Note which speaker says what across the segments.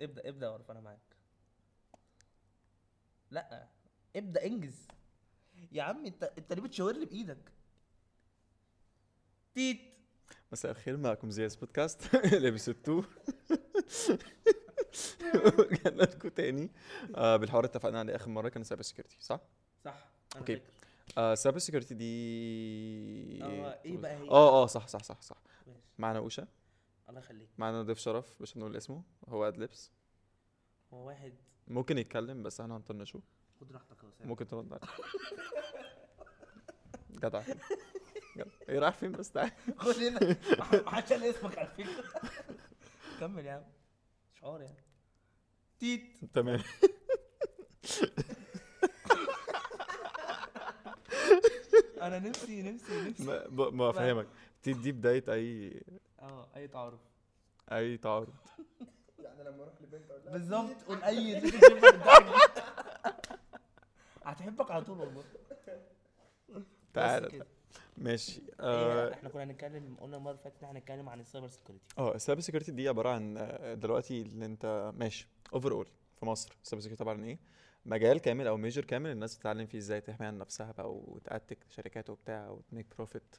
Speaker 1: ابدا ابدا وارف انا معاك لا ابدا انجز يا عم انت انت ليه بتشاور لي بايدك تيت
Speaker 2: مساء الخير معكم زياس بودكاست لابس التو رجعنا لكم تاني آه بالحوار اللي اتفقنا عليه اخر مره كان سايبر سكيورتي صح؟
Speaker 1: صح انا
Speaker 2: أوكي.
Speaker 1: فاكر.
Speaker 2: آه سايبر سكيورتي دي
Speaker 1: اه، ايه بقى هي؟
Speaker 2: اه اه صح صح صح صح
Speaker 1: ماشي
Speaker 2: معنا اوشا
Speaker 1: الله يخليك
Speaker 2: معنا ضيف شرف مش هنقول اسمه هو اد لبس
Speaker 1: هو واحد
Speaker 2: ممكن يتكلم بس احنا هنطنشه
Speaker 1: خد راحتك يا وسام
Speaker 2: ممكن ترد عليه جدع جدع. ايه رايح فين بس تعالى
Speaker 1: خد هنا عشان اسمك على فكره كمل يا عم شعار يعني تيت
Speaker 2: تمام
Speaker 1: انا نفسي نفسي نفسي
Speaker 2: ما- ب- ما فاهمك دي دي بدايه اي
Speaker 1: اه اي تعارف
Speaker 2: اي تعارض
Speaker 3: يعني لما اروح لبنت اقول لها
Speaker 1: بالظبط قول اي دي تحبك ده هتحبك على طول والله بس
Speaker 2: تعالى
Speaker 1: كده.
Speaker 2: ماشي
Speaker 1: ايه
Speaker 2: اه
Speaker 1: احنا كنا هنتكلم قلنا المره اللي فاتت ان احنا هنتكلم عن السايبر سكيورتي
Speaker 2: السايبر سكيورتي آه، دي عباره عن آه، دلوقتي اللي انت ماشي اوفر اول في مصر السايبر سكيورتي طبعا ايه مجال كامل او ميجر كامل الناس بتتعلم فيه ازاي تحمي عن نفسها بقى وتأتك شركات وبتاع وتميك بروفيت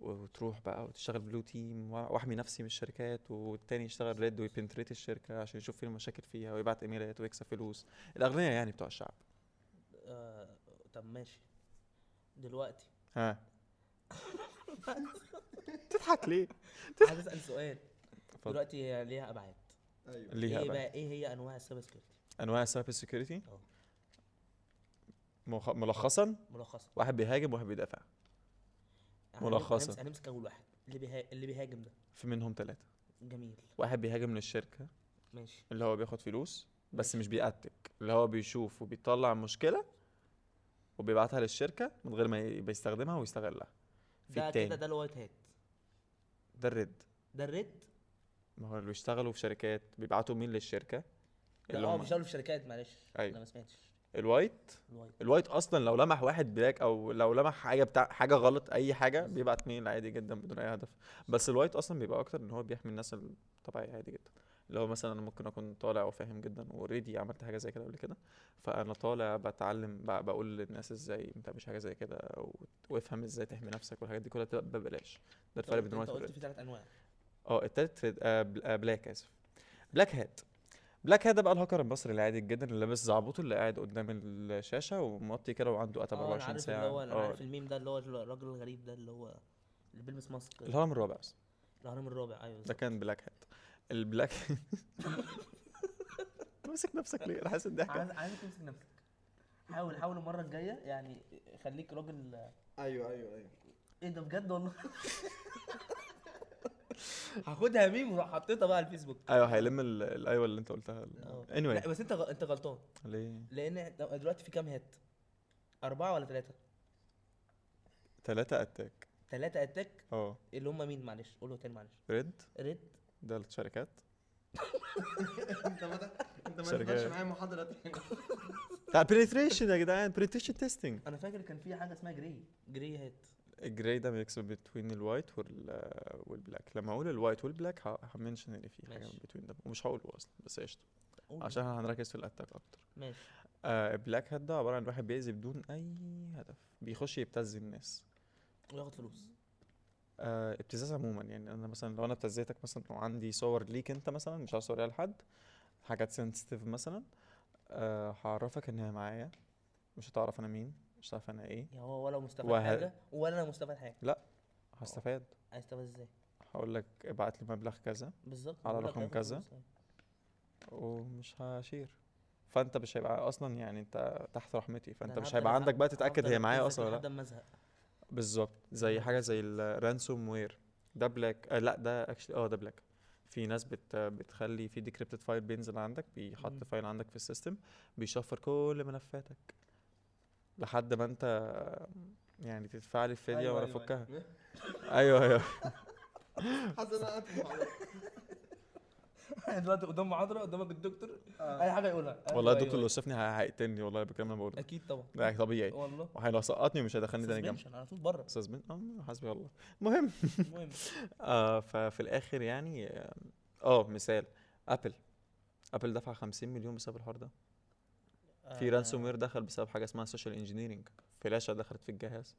Speaker 2: وتروح بقى وتشتغل بلو تيم وأ- واحمي نفسي من الشركات والتاني يشتغل ريد ويبنتريت الشركه عشان يشوف فين المشاكل فيها ويبعت ايميلات ويكسب فلوس الاغنياء يعني بتوع الشعب
Speaker 1: آه طب ماشي دلوقتي
Speaker 2: ها تضحك ليه؟
Speaker 1: عايز اسال سؤال
Speaker 2: اتفضل.
Speaker 1: دلوقتي هي ليها ابعاد
Speaker 3: ايوه
Speaker 2: ليها
Speaker 1: ايه
Speaker 2: بقى.
Speaker 1: بقى ايه هي انواع السايبر سكيورتي
Speaker 2: انواع السايبر سكيورتي
Speaker 1: اه.
Speaker 2: مخ- ملخصا
Speaker 1: ملخصا
Speaker 2: واحد بيهاجم وواحد بيدافع
Speaker 1: هنمس-
Speaker 2: ملخصا.
Speaker 1: هنمس- يعني هنمسك اول واحد اللي بيها... اللي بيهاجم ده
Speaker 2: في منهم ثلاثة
Speaker 1: جميل
Speaker 2: واحد بيهاجم من الشركة
Speaker 1: ماشي
Speaker 2: اللي هو بياخد فلوس بس مش بيأتك اللي هو بيشوف وبيطلع مشكلة وبيبعتها للشركة من غير ما ي- بيستخدمها ويستغلها
Speaker 1: ده
Speaker 2: في
Speaker 1: كده
Speaker 2: التاني
Speaker 1: ده الوايت هات
Speaker 2: ده الرد
Speaker 1: ده الريد
Speaker 2: ما هو اللي بيشتغلوا في شركات بيبعتوا مين للشركة
Speaker 1: ده
Speaker 2: اللي
Speaker 1: اه
Speaker 2: هم
Speaker 1: بيشتغلوا في شركات معلش
Speaker 2: أيوة.
Speaker 1: انا ما سمعتش
Speaker 2: الوايت
Speaker 1: الوايت
Speaker 2: الوايت اصلا لو لمح واحد بلاك او لو لمح حاجه بتاع حاجه غلط اي حاجه بيبعت ميل عادي جدا بدون اي هدف بس الوايت اصلا بيبقى اكتر ان هو بيحمي الناس الطبيعيه عادي جدا اللي هو مثلا أنا ممكن اكون طالع وفاهم جدا اوريدي عملت حاجه زي كده قبل كده فانا طالع بتعلم ب- بقول للناس ازاي ما تعملش حاجه زي كده او وافهم ازاي تحمي نفسك والحاجات دي كلها بتبقى ببلاش ده الفرق
Speaker 1: انت
Speaker 2: بين
Speaker 1: قلت
Speaker 2: الوايت والريد
Speaker 1: في ثلاث انواع
Speaker 2: اه التالت ريد- آه، بل- آه، بلاك اسف بلاك هات بلاك هات ده بقى الهاكر المصري العادي جدا اللي لابس زعبوط اللي قاعد قدام الشاشه وموطي كده وعنده اتب
Speaker 1: اه انا
Speaker 2: 24
Speaker 1: عارف
Speaker 2: ساعه
Speaker 1: اللي هو انا
Speaker 2: اه
Speaker 1: عارف الميم ده اللي هو الراجل الغريب ده اللي هو اللي بيلبس ماسك
Speaker 2: الهرم الرابع بس
Speaker 1: الهرم الرابع ايوه
Speaker 2: ده
Speaker 1: بالظبط.
Speaker 2: كان بلاك هات البلاك ماسك نفسك ليه؟ انا حاسس الضحك
Speaker 1: عايز عايزك تمسك نفسك حاول حاول المره الجايه يعني خليك راجل
Speaker 3: ايوه ايوه ايوه
Speaker 1: ايه ده بجد والله هاخدها ميم وراح حطيتها بقى على الفيسبوك
Speaker 2: ايوه هيلم ال- الايوه اللي انت قلتها
Speaker 1: اه
Speaker 2: اني
Speaker 1: لا بس انت غ- انت غلطان
Speaker 2: ليه؟
Speaker 1: لان دلوقتي في كام هات اربعه ولا ثلاثه
Speaker 2: ثلاثة اتاك
Speaker 1: ثلاثه اتاك
Speaker 2: اه
Speaker 1: اللي هم مين معلش قولوا تاني معلش
Speaker 2: ريد
Speaker 1: ريد
Speaker 2: ده الشركات
Speaker 3: انت ما ده- انت ما
Speaker 2: شركات.
Speaker 3: تقدرش معايا محاضره تاني
Speaker 2: بتاع penetration يا جدعان penetration تيستنج
Speaker 1: انا فاكر كان في حاجه اسمها جري جري هات
Speaker 2: الجراي ده ميكس بين الوايت وال والبلاك لما اقول الوايت والبلاك ه- همنشن ان في حاجه
Speaker 1: ماشي.
Speaker 2: بين ده ومش هقوله اصلا بس قشطه
Speaker 1: قول.
Speaker 2: عشان احنا هنركز في الاتاك اكتر
Speaker 1: ماشي
Speaker 2: آه البلاك هات ده عباره عن واحد بيأذي بدون اي هدف بيخش يبتز الناس
Speaker 1: وياخد فلوس
Speaker 2: آه ابتزاز عموما يعني انا مثلا لو انا ابتزيتك مثلا وعندي صور ليك انت مثلا مش عايز اوريها لحد حاجات سنسيتيف مثلا آه هعرفك ان هي معايا مش هتعرف انا مين مش هتعرف انا ايه
Speaker 1: يعني هو ولا مستفاد
Speaker 2: وه-
Speaker 1: حاجه ولا انا مستفاد حاجه
Speaker 2: هستفاد
Speaker 1: هيستفاد ازاي
Speaker 2: هقول لك ابعت لي مبلغ كذا
Speaker 1: بالظبط
Speaker 2: على
Speaker 1: بقول لك
Speaker 2: رقم
Speaker 1: هياخد
Speaker 2: كذا.
Speaker 1: فلوس.
Speaker 2: ومش هشير فانت مش هيبقى اصلا يعني انت تحت رحمتي
Speaker 1: ده
Speaker 2: فانت
Speaker 1: أنا
Speaker 2: مش
Speaker 1: هفضل
Speaker 2: هيبقى
Speaker 1: أبع-
Speaker 2: عندك بقى تتاكد
Speaker 1: هفضل
Speaker 2: هي معايا
Speaker 1: أبتزك
Speaker 2: اصلا ولا
Speaker 1: لحد
Speaker 2: لا
Speaker 1: اما ازهق
Speaker 2: بالظبط زي حاجه زي الرانسوم وير ده بلاك آه لا ده اكشلي اه ده بلاك في ناس بت بتخلي في ديكريبتد فايل بينزل عندك
Speaker 1: مم.
Speaker 2: بيحط فايل عندك في السيستم بيشفر كل ملفاتك لحد ما انت يعني تدفع لي الفديه
Speaker 3: أيوة،
Speaker 2: وانا
Speaker 3: أيوة،
Speaker 2: افكها
Speaker 3: أيوة.
Speaker 2: ايوه
Speaker 1: أيوة،
Speaker 2: ايوه
Speaker 3: حاسس ان انا قاعد في محاضره
Speaker 1: احنا دلوقتي قدام محاضره قدامك الدكتور
Speaker 3: آه.
Speaker 1: اي حاجه يقولها أيوة،
Speaker 2: والله
Speaker 1: أيوة،
Speaker 2: الدكتور لو
Speaker 1: أيوة.
Speaker 2: شافني ه- هيقتلني والله بكلام انا بقوله ده.
Speaker 1: اكيد طبعا
Speaker 2: ده يعني طبيعي
Speaker 1: والله
Speaker 2: وهيسقطني ومش هيدخلني تاني جنب
Speaker 1: Suspension على طول بره
Speaker 2: سسبند اه حسبي الله المهم
Speaker 1: المهم
Speaker 2: آه ففي الاخر يعني اه آه، مثال ابل ابل دفع 50 مليون بسبب الحوار ده في
Speaker 1: آه.
Speaker 2: رانسوم وير دخل بسبب حاجه اسمها سوشيال انجينيرنج فلاشه دخلت في الجهاز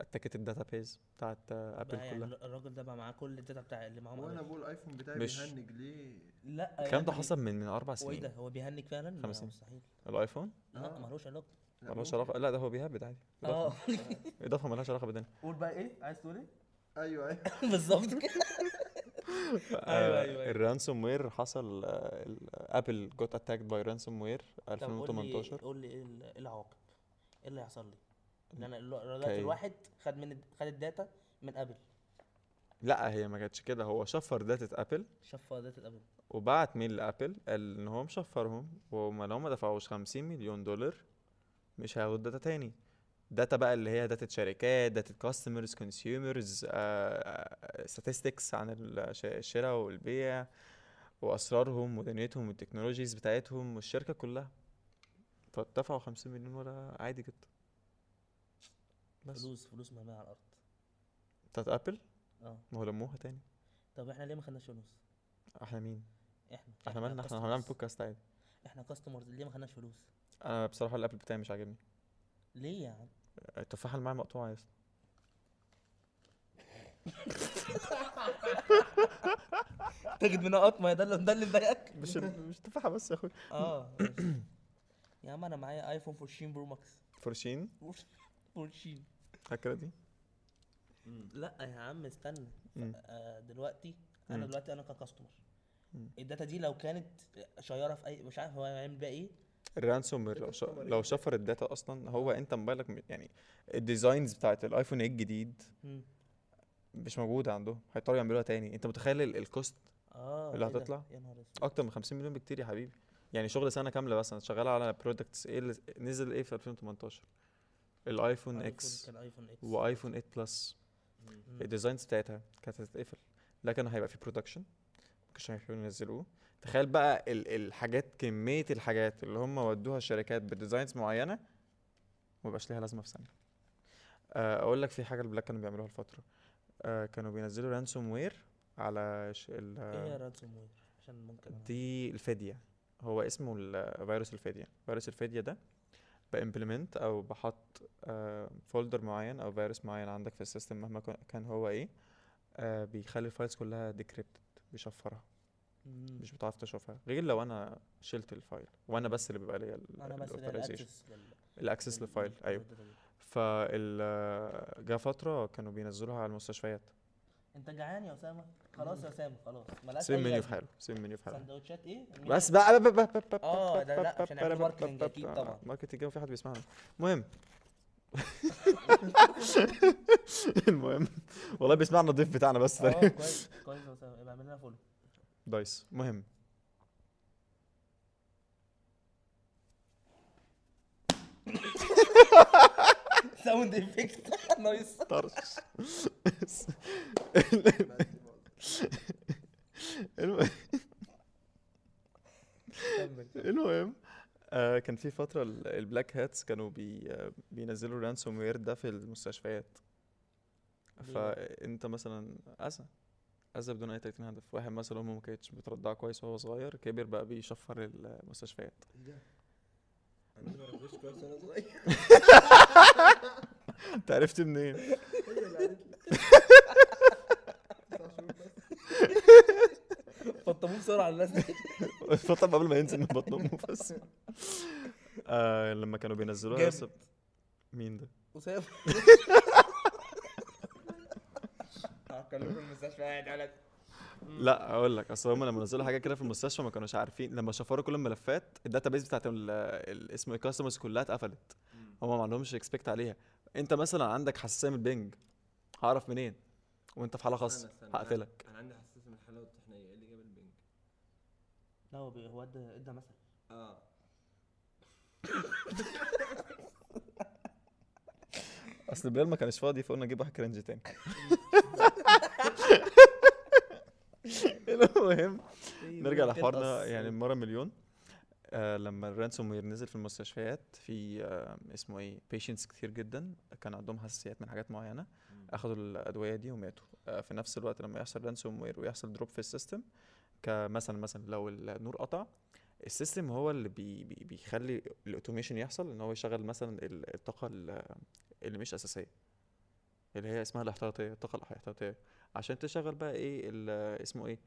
Speaker 2: اتكت الداتا بيز بتاعت ابل
Speaker 1: بقى يعني
Speaker 2: كلها
Speaker 1: الراجل ده بقى معاه كل الداتا بتاع اللي معاهم
Speaker 3: وانا
Speaker 1: قبل.
Speaker 3: بقول الايفون بتاعي
Speaker 2: مش-
Speaker 3: بيهنج ليه؟
Speaker 1: لا
Speaker 2: الكلام ده
Speaker 1: يعني
Speaker 2: حصل من من اربع
Speaker 1: هو ايه ده
Speaker 2: سنين
Speaker 1: هو بيهنج فعلا ما
Speaker 2: خمس سنين.
Speaker 1: مستحيل
Speaker 2: الايفون
Speaker 1: لا
Speaker 3: آه.
Speaker 1: ملوش علاقه
Speaker 3: لا،
Speaker 2: ملهاش
Speaker 3: ممكن.
Speaker 2: علاقه لا ده هو بيهبد عادي
Speaker 1: اه
Speaker 2: اضافه اضافه ملهاش علاقه بالدنيا
Speaker 1: قول بقى ايه عايز تقول ايه
Speaker 3: ايوه ايوه
Speaker 1: بالظبط كده أيوة، أيوة،
Speaker 2: آه،
Speaker 1: أيوة.
Speaker 2: الرانسوم وير حصل آه، ابل جوت اتاكد باي رانسوم وير
Speaker 1: طب قول لي-
Speaker 2: 2018
Speaker 1: قول لي ايه ال- إيه العواقب ايه اللي هيحصل لي ان انا ال-
Speaker 2: كاي.
Speaker 1: دلوقتي الواحد خد من الد- خد الداتا من ابل
Speaker 2: لا هي ما كانتش كده هو شفر داتا ابل
Speaker 1: شاف داتا ابل
Speaker 2: وبعت ميل لابل قال ان هو مشفرهم وما لو ما دفعوش 50 مليون دولار مش هياخد داتا تاني داتا بقى اللي هي داتا شركات داتا كاستمرز كونسيومرز آه، statistics عن الش- الشراء والبيع واسرارهم ودنيتهم والتكنولوجيز بتاعتهم والشركه كلها فدفعوا 50 مليون ولا عادي جدا بس
Speaker 1: فلوس فلوس مرميه على الارض
Speaker 2: بتاعت ابل
Speaker 1: اه
Speaker 2: ما هو لموها تاني
Speaker 1: طب احنا ليه ما خدناش فلوس
Speaker 2: احنا مين
Speaker 1: احنا
Speaker 2: احنا مالنا احنا
Speaker 1: customers.
Speaker 2: هنعمل بودكاست عادي
Speaker 1: احنا كاستمرز ليه ما خدناش فلوس
Speaker 2: انا بصراحه الابل بتاعي مش عاجبني
Speaker 1: ليه يا عم
Speaker 2: التفاحه اللي معايا مقطوعه يا اسطى
Speaker 1: تجد منها قط ما هي ده اللي ده اللي مضايقك
Speaker 2: مش مش تفاحه بس يا اخوي
Speaker 1: اه يا عم انا معايا ايفون 14 برو ماكس
Speaker 2: فرشين
Speaker 1: 14
Speaker 2: فاكره دي
Speaker 1: لا يا عم استنى
Speaker 2: مم.
Speaker 1: آه، دلوقتي انا
Speaker 2: مم.
Speaker 1: دلوقتي انا ككاستمر
Speaker 2: مم.
Speaker 1: الداتا دي لو كانت شيره في اي مش عارف هو هيعمل بيها ايه
Speaker 2: الرانسوم وير لو ش... لو شفر الداتا اصلا هو انت موبايلك م- يعني الديزاينز بتاعت الايفون 8 الجديد
Speaker 1: مم.
Speaker 2: مش موجوده عندهم هيضطروا يعملوها تاني انت متخيل ال- الكوست
Speaker 1: اه
Speaker 2: اللي
Speaker 1: إيه ده؟
Speaker 2: هتطلع؟
Speaker 1: يا نهار اسود
Speaker 2: اكتر من 50 مليون بكتير يا حبيبي يعني شغل سنه كامله بس انا شغال على برودكتس ايه اللي نزل ايه في 2018 الايفون
Speaker 1: آيفون
Speaker 2: اكس
Speaker 1: كان ايفون اكس
Speaker 2: وايفون 8 إيه بلس
Speaker 1: مم.
Speaker 2: الديزاينز بتاعتها كانت هتتقفل لكن هيبقى في برودكشن مش هيحبوا ينزلوه تخيل بقى ال- الحاجات كمية الحاجات اللي هم ودوها الشركات بديزاينز معينة مبقاش ليها لازمة في سنة آه، أقول لك في حاجة البلاك كانوا بيعملوها الفترة آه، كانوا بينزلوا رانسوم وير على ش... ال...
Speaker 1: ايه يا رانسوم وير عشان ممكن أنا-
Speaker 2: دي الفدية هو اسمه ال- فيروس الفدية فيروس الفدية ده بإمبلمنت أو بحط فولدر معين أو فيروس معين عندك في السيستم مهما كان- كان هو إيه آه، بيخلي الفايلز كلها ديكريبتد بيشفرها
Speaker 1: مم.
Speaker 2: مش بتعرف تشوفها غير لو انا شلت الفايل وانا بس اللي بيبقى ليا
Speaker 1: انا بس ده
Speaker 2: الاوثرايزيشن
Speaker 1: الاكسس
Speaker 2: الاكسس للفايل ايوه فال آه، جه فتره كانوا بينزلوها على المستشفيات
Speaker 1: انت جعان يا اسامه خلاص يا اسامه خلاص ملهاش
Speaker 2: سيب
Speaker 1: أي
Speaker 2: منيو
Speaker 1: لازمة.
Speaker 2: في حاله سيب منيو في حاله
Speaker 1: سندوتشات ايه المنيو.
Speaker 2: بس بقى بقى بقى بقى بقى
Speaker 1: آه،
Speaker 2: بقى
Speaker 1: ده لأ،
Speaker 2: بقى
Speaker 1: عشان يعملوا
Speaker 2: بقى
Speaker 1: ماركتينج
Speaker 2: بقى
Speaker 1: أكيد
Speaker 2: بقى.
Speaker 1: طبعاً.
Speaker 2: ماركتينج في حد بيسمعنا المهم المهم والله بيسمعنا الضيف بتاعنا بس ده.
Speaker 1: اه كويس كويس يا اسامه يبقى اعمل لنا فولو
Speaker 2: دايس مهم
Speaker 1: ساوند افكت نايس
Speaker 2: طرش
Speaker 3: بس برضه.
Speaker 2: المهم المهم آه كان في فترة ال- البلاك هاتس كانوا بي آه، بينزلوا رانسوم وير ده في المستشفيات
Speaker 1: ليه بقى؟
Speaker 2: فانت مثلا اذى اذى بدون اي تأكيد هدف واحد مثلا امه ما كانتش بترضعه كويس وهو صغير كبر بقى بيشفر المستشفيات
Speaker 3: ايه ده؟ انا ما ربيتش كويس وانا صغير
Speaker 2: انت عرفت منين؟
Speaker 3: هي اللي قالت لي تسع شهور بس
Speaker 1: فطموه بسرعه على الناس دي
Speaker 2: فطب قبل ما ينزل من بطن امه بس آه لما كانوا بينزلوها يا
Speaker 1: جامد.
Speaker 2: اسطى- مين ده؟
Speaker 1: اسامه هكلمه المستشفى قاعد على
Speaker 2: لا اقول لك اصل هم لما نزلوا حاجه كده في المستشفى ما كانوش عارفين لما شفروا كل الملفات الداتابيز بتاعت ال- ال- اسم الكاستمرز كلها اتقفلت هم ما عندهمش اكسبكت عليها انت مثلا عندك حساسيه من البنج هعرف منين وانت في حاله خاصه
Speaker 3: استنى، استنى.
Speaker 2: هقفلك
Speaker 3: انا عندي حساسيه من الحلاوه الطحينيه ايه اللي جاب البنج؟
Speaker 1: لا هو بي- هو ادى ادى مثلا
Speaker 3: اه
Speaker 2: اصل بلال ما كانش فاضي فقلنا نجيب واحد كرنج تاني المهم إيه،
Speaker 1: طيب،
Speaker 2: نرجع لحوارنا يعني المره مليون آه لما الرانسوم وير نزل في المستشفيات في آه اسمه ايه بيشنتس كتير جدا كان عندهم حساسيات من حاجات معينه اخدوا الادويه دي وماتوا آه في نفس الوقت لما يحصل رانسوم وير ويحصل دروب في السيستم كمثلا مثلا لو النور قطع السيستم هو اللي بي بي بيخلي الاوتوميشن يحصل ان هو يشغل مثلا ال- الطاقه ال- اللي مش اساسيه اللي هي اسمها الاحتياطيه الطاقه الاحتياطيه عشان تشغل بقى ايه ال- اسمه ايه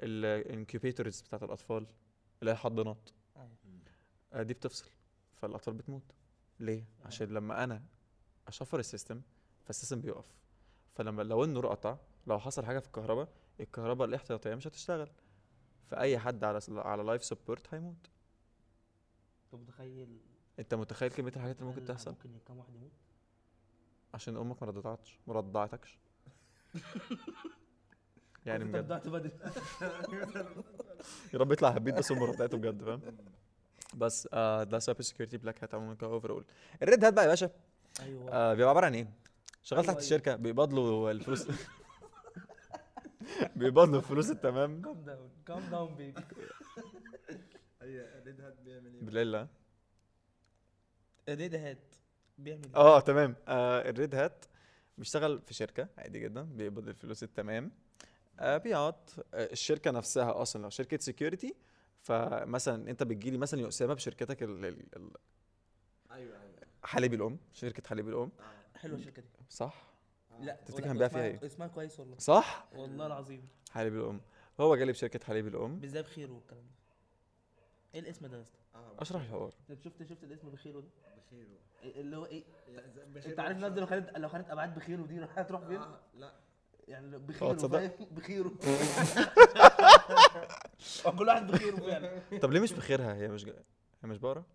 Speaker 2: الانكيوبيتورز بتاعت الاطفال اللي هي الحضانات
Speaker 1: أيوه.
Speaker 2: آه، دي بتفصل فالاطفال بتموت ليه عشان لما انا اشفر السيستم فالسيستم بيقف فلما لو النور قطع لو حصل حاجه في الكهرباء الكهرباء الاحتياطيه مش هتشتغل فاي حد على على لايف سبورت هيموت
Speaker 1: انت متخيل
Speaker 2: انت متخيل كميه الحاجات اللي ممكن
Speaker 1: هل
Speaker 2: تحصل
Speaker 1: ممكن كام واحد يموت
Speaker 2: عشان امك ما رضعتش ما رضعتكش يعني
Speaker 1: انت
Speaker 2: بجد
Speaker 1: بدأت بدري
Speaker 2: يا رب يطلع هبيت بس امه رضعته بجد فاهم بس آه ده سايبر سكيورتي بلاك هات عموما كاوفر اول الريد هات بقى يا باشا
Speaker 1: ايوه
Speaker 2: آه بيبقى عباره عن ايه؟ شغال
Speaker 1: أيوة،
Speaker 2: تحت
Speaker 1: أيوة.
Speaker 2: الشركه بيقبضوا الفلوس بيقبضوا الفلوس التمام
Speaker 1: كام داون كام داون بيبي
Speaker 3: هي ريد هات بيعمل ايه؟
Speaker 2: بالليل لا.
Speaker 1: ريد هات بيعمل ايه؟
Speaker 2: اه تمام آه الريد هات بيشتغل في شركه عادي جدا بيقبض الفلوس التمام آه بيقعد آه الشركه نفسها اصلا لو شركه سكيورتي فمثلا انت بتجيلي مثلا يا اسامه بشركتك ال- ال- ال-
Speaker 3: ايوه ايوه
Speaker 2: حليب الام شركه حليب الام
Speaker 3: آه.
Speaker 1: حلوه الشركه دي
Speaker 2: صح
Speaker 1: لا
Speaker 2: آه. تفتكر
Speaker 1: ولا-
Speaker 2: هنبيع فيها ايه؟
Speaker 1: اسمها- اسمها كويس والله
Speaker 2: صح
Speaker 1: والله العظيم
Speaker 2: حليب الام هو جالي بشركه حليب الام
Speaker 1: بالذات بخير والكلام ده ايه الاسم ده يا اسطى؟
Speaker 3: اه
Speaker 2: اشرح الحوار
Speaker 1: انت شفت شفت الاسم بخيره ده؟
Speaker 3: بخير والله.
Speaker 1: إيه- اللي هو ايه؟
Speaker 3: يا ز- بخير
Speaker 1: انت عارف
Speaker 3: والله.
Speaker 1: الناس دي لو خدت لو خدت ابعاد بخيره دي هتروح فين؟
Speaker 3: آه، لا
Speaker 1: يعني بخيره
Speaker 2: آه، تصدق؟
Speaker 1: فاهم؟ بخيره آه، كل واحد بخيره فعلا
Speaker 2: طب ليه مش بخيرها هي مش جا... هي مش بقره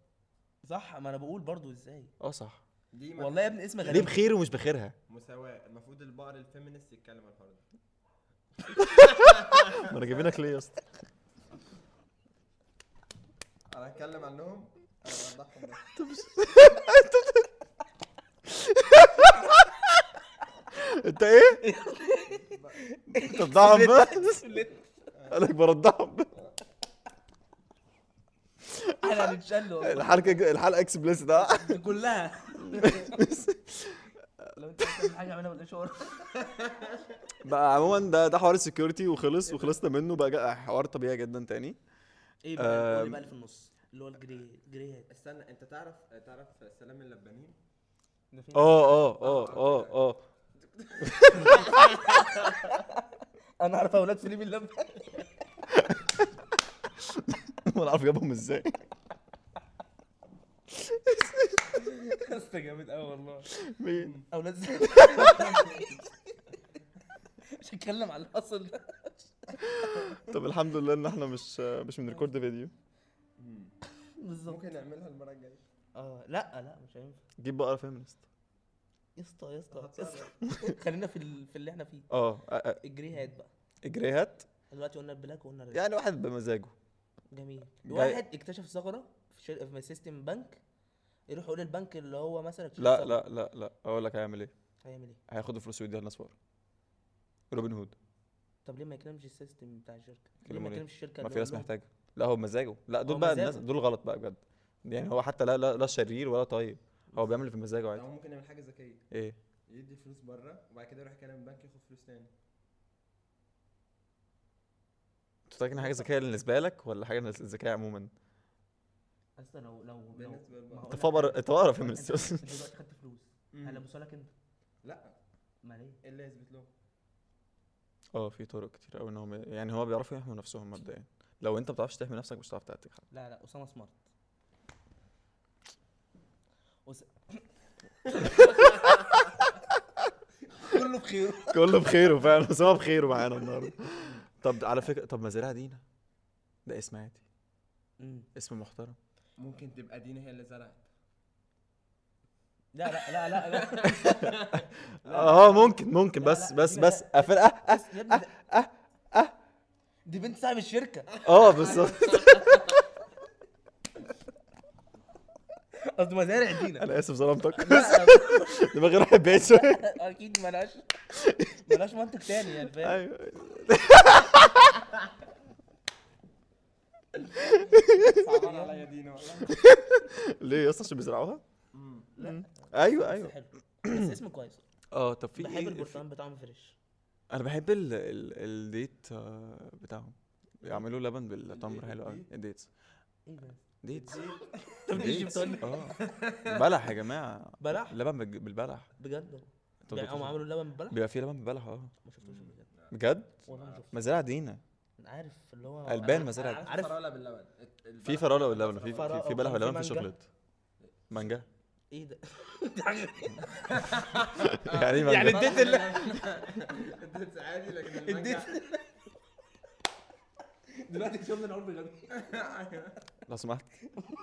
Speaker 1: صح ما انا بقول برضو ازاي
Speaker 2: اه صح
Speaker 3: دي
Speaker 1: والله يا ابني اسم
Speaker 2: ليه
Speaker 1: غريب
Speaker 2: بخير ومش بخيرها
Speaker 3: مساواة المفروض البقر الفيمينست يتكلم عن الحوار ده
Speaker 2: ما انا جايبينك ليه يا اسطى
Speaker 3: انا هتكلم عنهم انا بوضحهم بس
Speaker 2: انت ايه انت بتضحك بس قال لك برضعهم
Speaker 1: احنا هنتشل والله.
Speaker 2: الحلقه الحلقه اكسبلس ده
Speaker 1: كلها لو انت بتعمل حاجه اعملها بالاشاره
Speaker 2: بقى عموما ده ده حوار السكيورتي وخلص وخلصنا منه بقى جا- حوار طبيعي جدا تاني
Speaker 1: ايه بقى قول
Speaker 2: أم.
Speaker 1: لي بقى اللي في النص اللي هو الجري جري هات
Speaker 3: استنى انت تعرف تعرف سلام اللبانين
Speaker 2: اه اه اه اه اه
Speaker 1: انا عارف اولاد سليم اللب
Speaker 2: ما انا عارف جابهم ازاي
Speaker 1: اسطى جامد قوي والله
Speaker 2: مين
Speaker 1: اولاد سليم مش هتكلم على الاصل ده
Speaker 2: طب الحمد لله ان احنا مش مش بنريكورد فيديو
Speaker 1: بالظبط
Speaker 3: ممكن نعملها المره الجايه
Speaker 1: اه لا لا مش هينفع
Speaker 2: جيب بقره فيمنست
Speaker 1: يا اسطى يا اسطى يا اسطى.
Speaker 3: هتصرف.
Speaker 1: خلينا في ال- في اللي احنا فيه
Speaker 2: اه آه، آه،
Speaker 1: الجري هات بقى
Speaker 2: جري هات
Speaker 1: دلوقتي قلنا البلاك وقلنا الريد
Speaker 2: يعني واحد بمزاجه
Speaker 1: جميل
Speaker 2: جاي-
Speaker 1: واحد اكتشف ثغره في شر... في سيستم بنك يروح يقول للبنك اللي هو مثلا اكتشف
Speaker 2: لا
Speaker 1: ثغرة.
Speaker 2: لا لا لا اقول لك هيعمل ايه
Speaker 1: هيعمل ايه
Speaker 2: هياخد الفلوس ويديها للناس ورا روبن هود
Speaker 1: طب ليه ما يكلمش السيستم بتاع الشركه ليه
Speaker 2: كلمه
Speaker 1: ما
Speaker 2: ليه؟
Speaker 1: يكلمش الشركه
Speaker 2: ما
Speaker 1: اللي
Speaker 2: في
Speaker 1: هو
Speaker 2: ناس
Speaker 1: يقول لهم-
Speaker 2: محتاجه لا هو بمزاجه لا دول
Speaker 1: هو
Speaker 2: بقى
Speaker 1: مزاجه.
Speaker 2: الناس دول غلط بقى بجد يعني هو حتى لا لا لا شرير ولا طيب هو بيعمل في مزاجه عادي
Speaker 3: او ممكن يعمل حاجه ذكيه
Speaker 2: ايه
Speaker 3: يدي فلوس بره وبعد كده يروح يكلم البنك ياخد فلوس تاني
Speaker 2: انت فاكر إن حاجه ذكيه بالنسبه لك ولا حاجه ذكيه عموما
Speaker 1: اصل لو لو لو
Speaker 3: بالنسبه
Speaker 1: ما
Speaker 3: للبنك
Speaker 1: هو-
Speaker 2: انت
Speaker 1: أقول
Speaker 2: فقر
Speaker 1: لك
Speaker 2: انت فقر في
Speaker 1: انت
Speaker 2: المس-
Speaker 1: أنت دلوقتي خدت فلوس
Speaker 3: مم.
Speaker 1: هلا لك انت
Speaker 3: لا
Speaker 1: ما ليه
Speaker 3: ايه اللي يثبت له
Speaker 2: اه في طرق كتير قوي ان هم يعني هو بيعرفوا يحموا نفسهم مبدئيا لو انت ما بتعرفش تحمي نفسك مش هتعرف تأتي حد
Speaker 1: لا لا اسامه سمارت أس... كله بخير
Speaker 2: كله بخيره فعلا بس هو بخيره معانا النهارده طب على فكره طب مزارع دينا ده اسم عادي اسم محترم
Speaker 3: ممكن تبقى دينا هي اللي زرعت
Speaker 1: لا لا لا لا لا
Speaker 2: اه ممكن ممكن
Speaker 1: لا،
Speaker 2: بس
Speaker 1: لا،
Speaker 2: بس
Speaker 1: دينا
Speaker 2: بس قفل اه اه
Speaker 1: بس يا ابني ده- أه، دي بنت صاحب الشركه
Speaker 2: اه بالظبط
Speaker 1: قصدي مزارع دينا
Speaker 2: انا اسف ظلمتك
Speaker 1: لا،
Speaker 2: دماغي راحت بعيد شويه
Speaker 1: لا، اكيد ملهاش ملهاش منطق تاني يعني فاهم
Speaker 2: ايوه
Speaker 3: صعبان عليا دينا والله
Speaker 2: ليه يا اسطى عشان بيزرعوها؟
Speaker 3: مم.
Speaker 2: مم. ايوه
Speaker 1: بس
Speaker 2: ايوه
Speaker 1: حلو بس اسم كويس
Speaker 2: اه طب في
Speaker 1: بحب
Speaker 2: ايه في-
Speaker 1: البرتقال بطعم فريش
Speaker 2: انا بحب ال... ال... الديت آه، بتاعهم بيعملوا لبن بالتمر حلو قوي
Speaker 3: الديت.
Speaker 2: الديتس إيه
Speaker 1: ايه ده؟
Speaker 2: ديتس
Speaker 1: انت بتجيب
Speaker 2: ديتس
Speaker 1: تقول
Speaker 2: اه بلح يا جماعه
Speaker 1: بلح
Speaker 2: لبن بالج- بالبلح
Speaker 1: بجد والله.
Speaker 2: انتوا
Speaker 1: يعني هم
Speaker 2: بتشوفوا-
Speaker 1: عملوا لبن ببلح
Speaker 2: بيبقى فيه لبن بالبلح اه
Speaker 1: ما شفتوش قبل كده
Speaker 2: بجد
Speaker 1: والله ما شفتوش
Speaker 2: مزارع دينا
Speaker 1: عارف اللي هو
Speaker 2: قلبان
Speaker 1: أنا-
Speaker 2: مزارع.
Speaker 1: أنا
Speaker 3: عارف
Speaker 1: عارف
Speaker 3: فراوله باللبن الت-
Speaker 2: في
Speaker 3: البلح.
Speaker 2: فراوله واللبن في
Speaker 1: فراولة
Speaker 2: في, في
Speaker 1: وكان
Speaker 2: بلح
Speaker 1: في
Speaker 2: واللبن في
Speaker 1: مانجا.
Speaker 2: شوكليت مانجا
Speaker 1: ايه ده؟ دي حاجة-
Speaker 2: يعني إيه
Speaker 1: يعني
Speaker 2: مانجا
Speaker 1: اديت ال-
Speaker 3: اديت عادي لكن
Speaker 1: اديت
Speaker 3: المانجا
Speaker 1: دلوقتي اكتشفنا ان عمر بيغني
Speaker 2: لو سمحت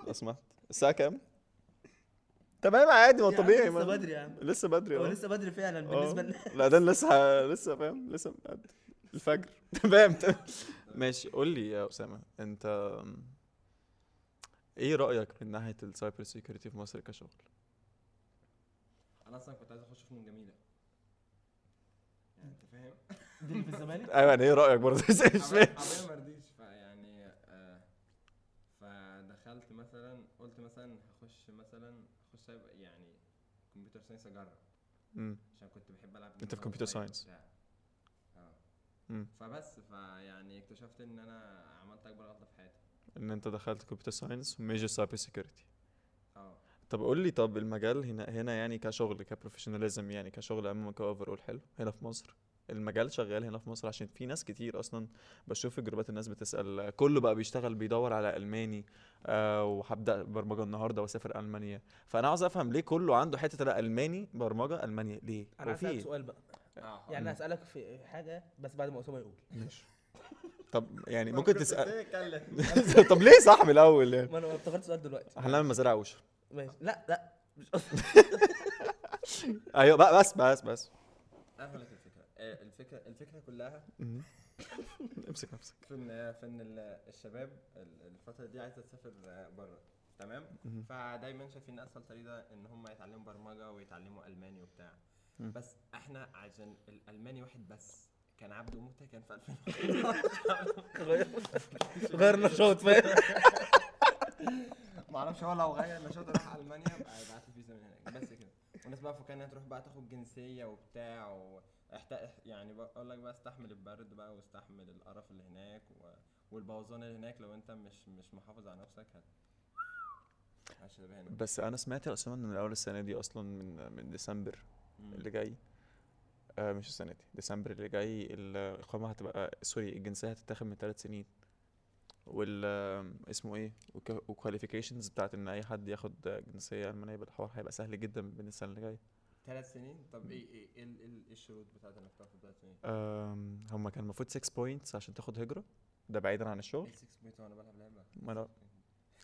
Speaker 2: لو سمحت الساعه كام تمام عادي ما
Speaker 1: يا عم
Speaker 2: طبيعي
Speaker 1: لسه
Speaker 2: ما-
Speaker 1: بدري يا عم
Speaker 2: لسه بدري
Speaker 1: هو
Speaker 2: اه
Speaker 1: لسه بدري فعلا
Speaker 2: آه.
Speaker 1: بالنسبه لنا
Speaker 2: لا ده أنا لسه لسه فاهم لسه بعد الفجر تمام تمام ماشي قول لي يا اسامه انت أم، ايه رايك من ناحيه السايبر سيكيورتي في مصر كشغل
Speaker 3: انا اصلا كنت عايز اخش فنون جميله يعني انت فاهم
Speaker 1: دي في الزمالك
Speaker 2: ايوه يعني ايه رايك برضه مش فاهم
Speaker 3: عمال ما رضيش فيعني آه، فدخلت مثلا قلت مثلا هخش مثلا هخش سايب- يعني كمبيوتر ساينس اجرب
Speaker 2: مم.
Speaker 3: عشان كنت بحب العب
Speaker 2: أنت
Speaker 3: جيمز
Speaker 2: في كمبيوتر
Speaker 3: وأنا صغير
Speaker 2: ساينس.
Speaker 3: وبتاع. اه
Speaker 2: مم.
Speaker 3: فبس فيعني اكتشفت ان انا عملت اكبر غلطه في حياتي
Speaker 2: ان انت دخلت كمبيوتر ساينس وميجر سايبر سيكيورتي
Speaker 3: اه
Speaker 2: طب قول لي طب المجال هنا هنا يعني كشغل كبروفيشناليزم يعني كشغل عموما كاوفر اول حلو هنا في مصر المجال شغال هنا في مصر عشان في ناس كتير اصلا بشوف في جروبات الناس بتسال آه، كله بقى بيشتغل بيدور على الماني آه وهبدا برمجه النهارده واسافر المانيا فانا عاوز افهم ليه كله عنده حته لا الماني برمجه المانيا ليه
Speaker 1: انا
Speaker 2: هو في
Speaker 1: هسألك
Speaker 2: ايه
Speaker 1: سؤال بقى
Speaker 3: اه
Speaker 1: يعني هسألك في حاجة بس بعد ما أسامة يقول
Speaker 2: ماشي طب يعني ممكن تسال
Speaker 3: تتكلم
Speaker 2: طب ليه يا صاحبي الاول يعني
Speaker 1: ما أنا افتكرت سؤال دلوقتي
Speaker 2: هنعمل مزارع وش
Speaker 1: ماشي لا لا مش قصدي.
Speaker 2: ايوه بقى بس بس بس
Speaker 3: قفلت الفكره آه، الفكره الفكره كلها
Speaker 2: مم. امسك نفسك
Speaker 3: في ان في ان ال- الشباب ال- الفتره دي عايزه تسافر بره تمام
Speaker 2: مهم.
Speaker 3: فدايما شايفين اسهل طريقه ان هم يتعلموا برمجه ويتعلموا الماني وبتاع
Speaker 2: مم.
Speaker 3: بس احنا عشان الالماني واحد بس كان عبده موته كان في 2015
Speaker 1: غير غير نشاط فاهم
Speaker 3: ما اعرفش هو لو غير نشاطه راح المانيا بقى يبعت له فيزا من هناك بس كده والناس بقى فكان انها تروح بقى تاخد جنسيه وبتاع و... احت- يعني بقول لك بقى استحمل البرد بقى واستحمل القرف اللي هناك و... والبوظان اللي هناك لو انت مش مش محافظ على نفسك هت هتشرب هنا
Speaker 2: بس انا سمعت يا اسامه ان من اول السنه دي اصلا من من ديسمبر اللي جاي آه مش السنه دي ديسمبر اللي جاي الاقامه هتبقى سوري الجنسيه هتتاخد من ثلاث سنين وال آم، اسمه ايه والكواليفيكيشنز بتاعت ان اي حد ياخد جنسيه المانيه بالحوار هيبقى سهل جدا من السنه اللي جايه
Speaker 3: ثلاث سنين طب ايه ايه ايه ال- ال- الشروط بتاعت انك تاخد ثلاث سنين؟
Speaker 2: أه؟ آم، هما كان المفروض 6 بوينتس عشان تاخد هجره ده بعيدا عن
Speaker 3: ايه
Speaker 2: الشغل
Speaker 3: ال 6 بوينت وانا بلعب لعبه؟
Speaker 2: ما لا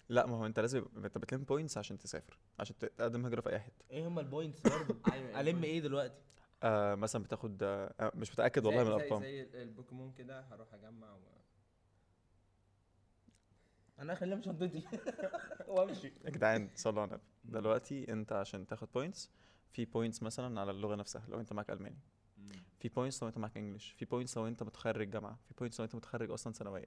Speaker 2: لا ما هو انت لازم يبقى- انت بتلم بوينتس عشان تسافر عشان تقدم هجره في اي حته
Speaker 1: ايه هما البوينتس برضه
Speaker 3: ايوه
Speaker 1: ألم
Speaker 2: إيه؟
Speaker 1: ايه دلوقتي
Speaker 2: آه مثلا بتاخد آه آه، مش متاكد والله من الارقام
Speaker 3: زي ال- البوكيمون كده هروح اجمع و...
Speaker 1: أنا هخليها في شنطتي وأمشي
Speaker 2: يا جدعان صلوا على النبي دلوقتي انت عشان تاخد بوينتس في بوينتس مثلا على اللغه نفسها لو انت معاك الماني
Speaker 3: مم.
Speaker 2: في بوينتس لو انت معاك انجلش في بوينتس لو انت متخرج جامعه في بوينتس لو انت متخرج اصلا ثانويه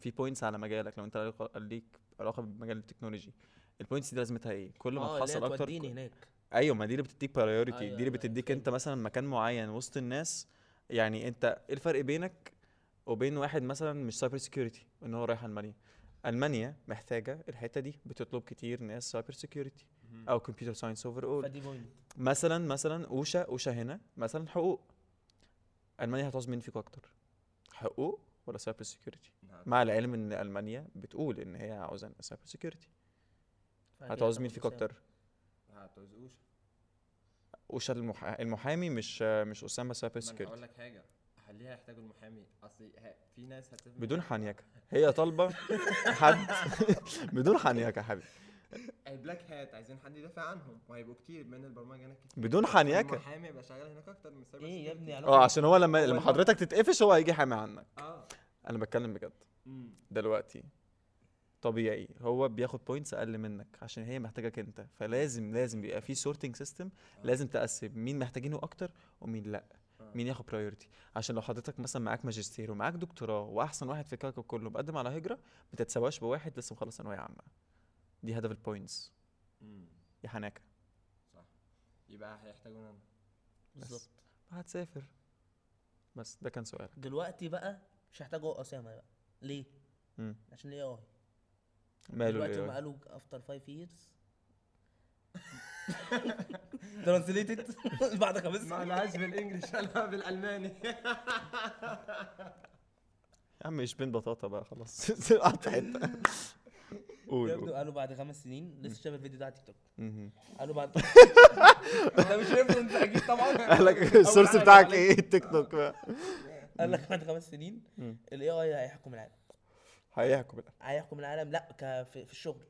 Speaker 2: في بوينتس على مجالك لو انت علاقة- ليك علاقه بمجال التكنولوجي البوينتس دي لازمتها ايه كل ما
Speaker 1: آه، اللي هي
Speaker 2: تحصل اكتر
Speaker 1: توديني
Speaker 2: كل-
Speaker 1: هناك
Speaker 2: ايوه ما دي اللي بتديك priority
Speaker 1: أيوة،
Speaker 2: دي
Speaker 1: أيوة،
Speaker 2: اللي بتديك انت
Speaker 1: فهمت.
Speaker 2: مثلا مكان معين وسط الناس يعني انت ايه الفرق بينك وبين واحد مثلا مش سايبر سيكيورتي ان هو رايح المانيا المانيا محتاجه الحته دي بتطلب كتير ناس سايبر سيكيورتي او كمبيوتر ساينس اوفر اول
Speaker 1: فدي بوينت
Speaker 2: مثلا مثلا اوشا اوشا هنا مثلا حقوق المانيا هتعوز مين فيكم اكتر حقوق ولا سايبر سيكيورتي
Speaker 3: نعم.
Speaker 2: مع العلم ان المانيا بتقول ان هي عاوزه سايبر سيكيورتي هتعوز مين فيكم اكتر
Speaker 3: هتعوز اوشا
Speaker 2: اوشا المح... المحامي مش مش اسامه سايبر
Speaker 3: ما انا هقول
Speaker 2: سكيورتي
Speaker 3: لك حاجه هخليها يحتاجوا المحامي اصل ه- في ناس هتفهم
Speaker 2: بدون حنيكه هي طالبه حد بدون حنيكه يا حبيبي
Speaker 3: البلاك هات عايزين حد يدافع عنهم وهيبقوا كتير من البرمجه هناك كتير
Speaker 2: بدون حنيكه
Speaker 3: المحامي يبقى شغال هناك اكتر من سايبر
Speaker 1: إيه يا ابني
Speaker 3: سيكيورتي.
Speaker 2: اه عشان هو لما
Speaker 3: هو
Speaker 2: لما
Speaker 3: الم-
Speaker 2: حضرتك تتقفش هو هيجي حامي عنك
Speaker 3: اه
Speaker 2: انا بتكلم بجد
Speaker 3: امم
Speaker 2: دلوقتي طبيعي هو بياخد بوينتس اقل منك عشان هي محتاجاك انت فلازم لازم بيبقى في سورتنج سيستم لازم تقسم مين محتاجينه اكتر ومين لا
Speaker 3: آه.
Speaker 2: مين ياخد برايورتي عشان لو حضرتك مثلا معاك ماجستير ومعاك دكتوراه واحسن واحد في الكوكب كله مقدم على هجره ما تتساواش بواحد لسه مخلص ثانويه عامه دي هدف البوينتس
Speaker 3: امم
Speaker 2: يا حناكه
Speaker 3: صح يبقى هيحتاجونا انا
Speaker 1: بالظبط
Speaker 2: هتسافر بس ده كان سؤال
Speaker 1: دلوقتي بقى مش هيحتاجوا اسامه بقى ليه؟
Speaker 2: مم.
Speaker 1: عشان الاي اي
Speaker 2: ماله
Speaker 1: دلوقتي
Speaker 2: ال
Speaker 1: هم
Speaker 2: AI؟
Speaker 1: قالوا افتر 5 years ترانسليتد بعد خمس
Speaker 3: ما لهاش بالانجلش قالها بالالماني
Speaker 2: يا عم مش بين بطاطا بقى خلاص قعدت في حته قول
Speaker 1: يبدو
Speaker 2: قول.
Speaker 1: قالوا بعد خمس سنين لسه شايف الفيديو ده على تيك توك
Speaker 2: مهم.
Speaker 1: قالوا بعد انت مش شايف انت اكيد طبعا
Speaker 2: قال لك السورس
Speaker 1: حاجة
Speaker 2: بتاعك
Speaker 1: عليك.
Speaker 2: ايه التيك توك بقى
Speaker 1: قال لك بعد خمس سنين
Speaker 2: مم.
Speaker 1: الاي اي هيحكم العالم
Speaker 2: هيحكوا بقى
Speaker 1: هيحكم العالم لا ك- في في الشغل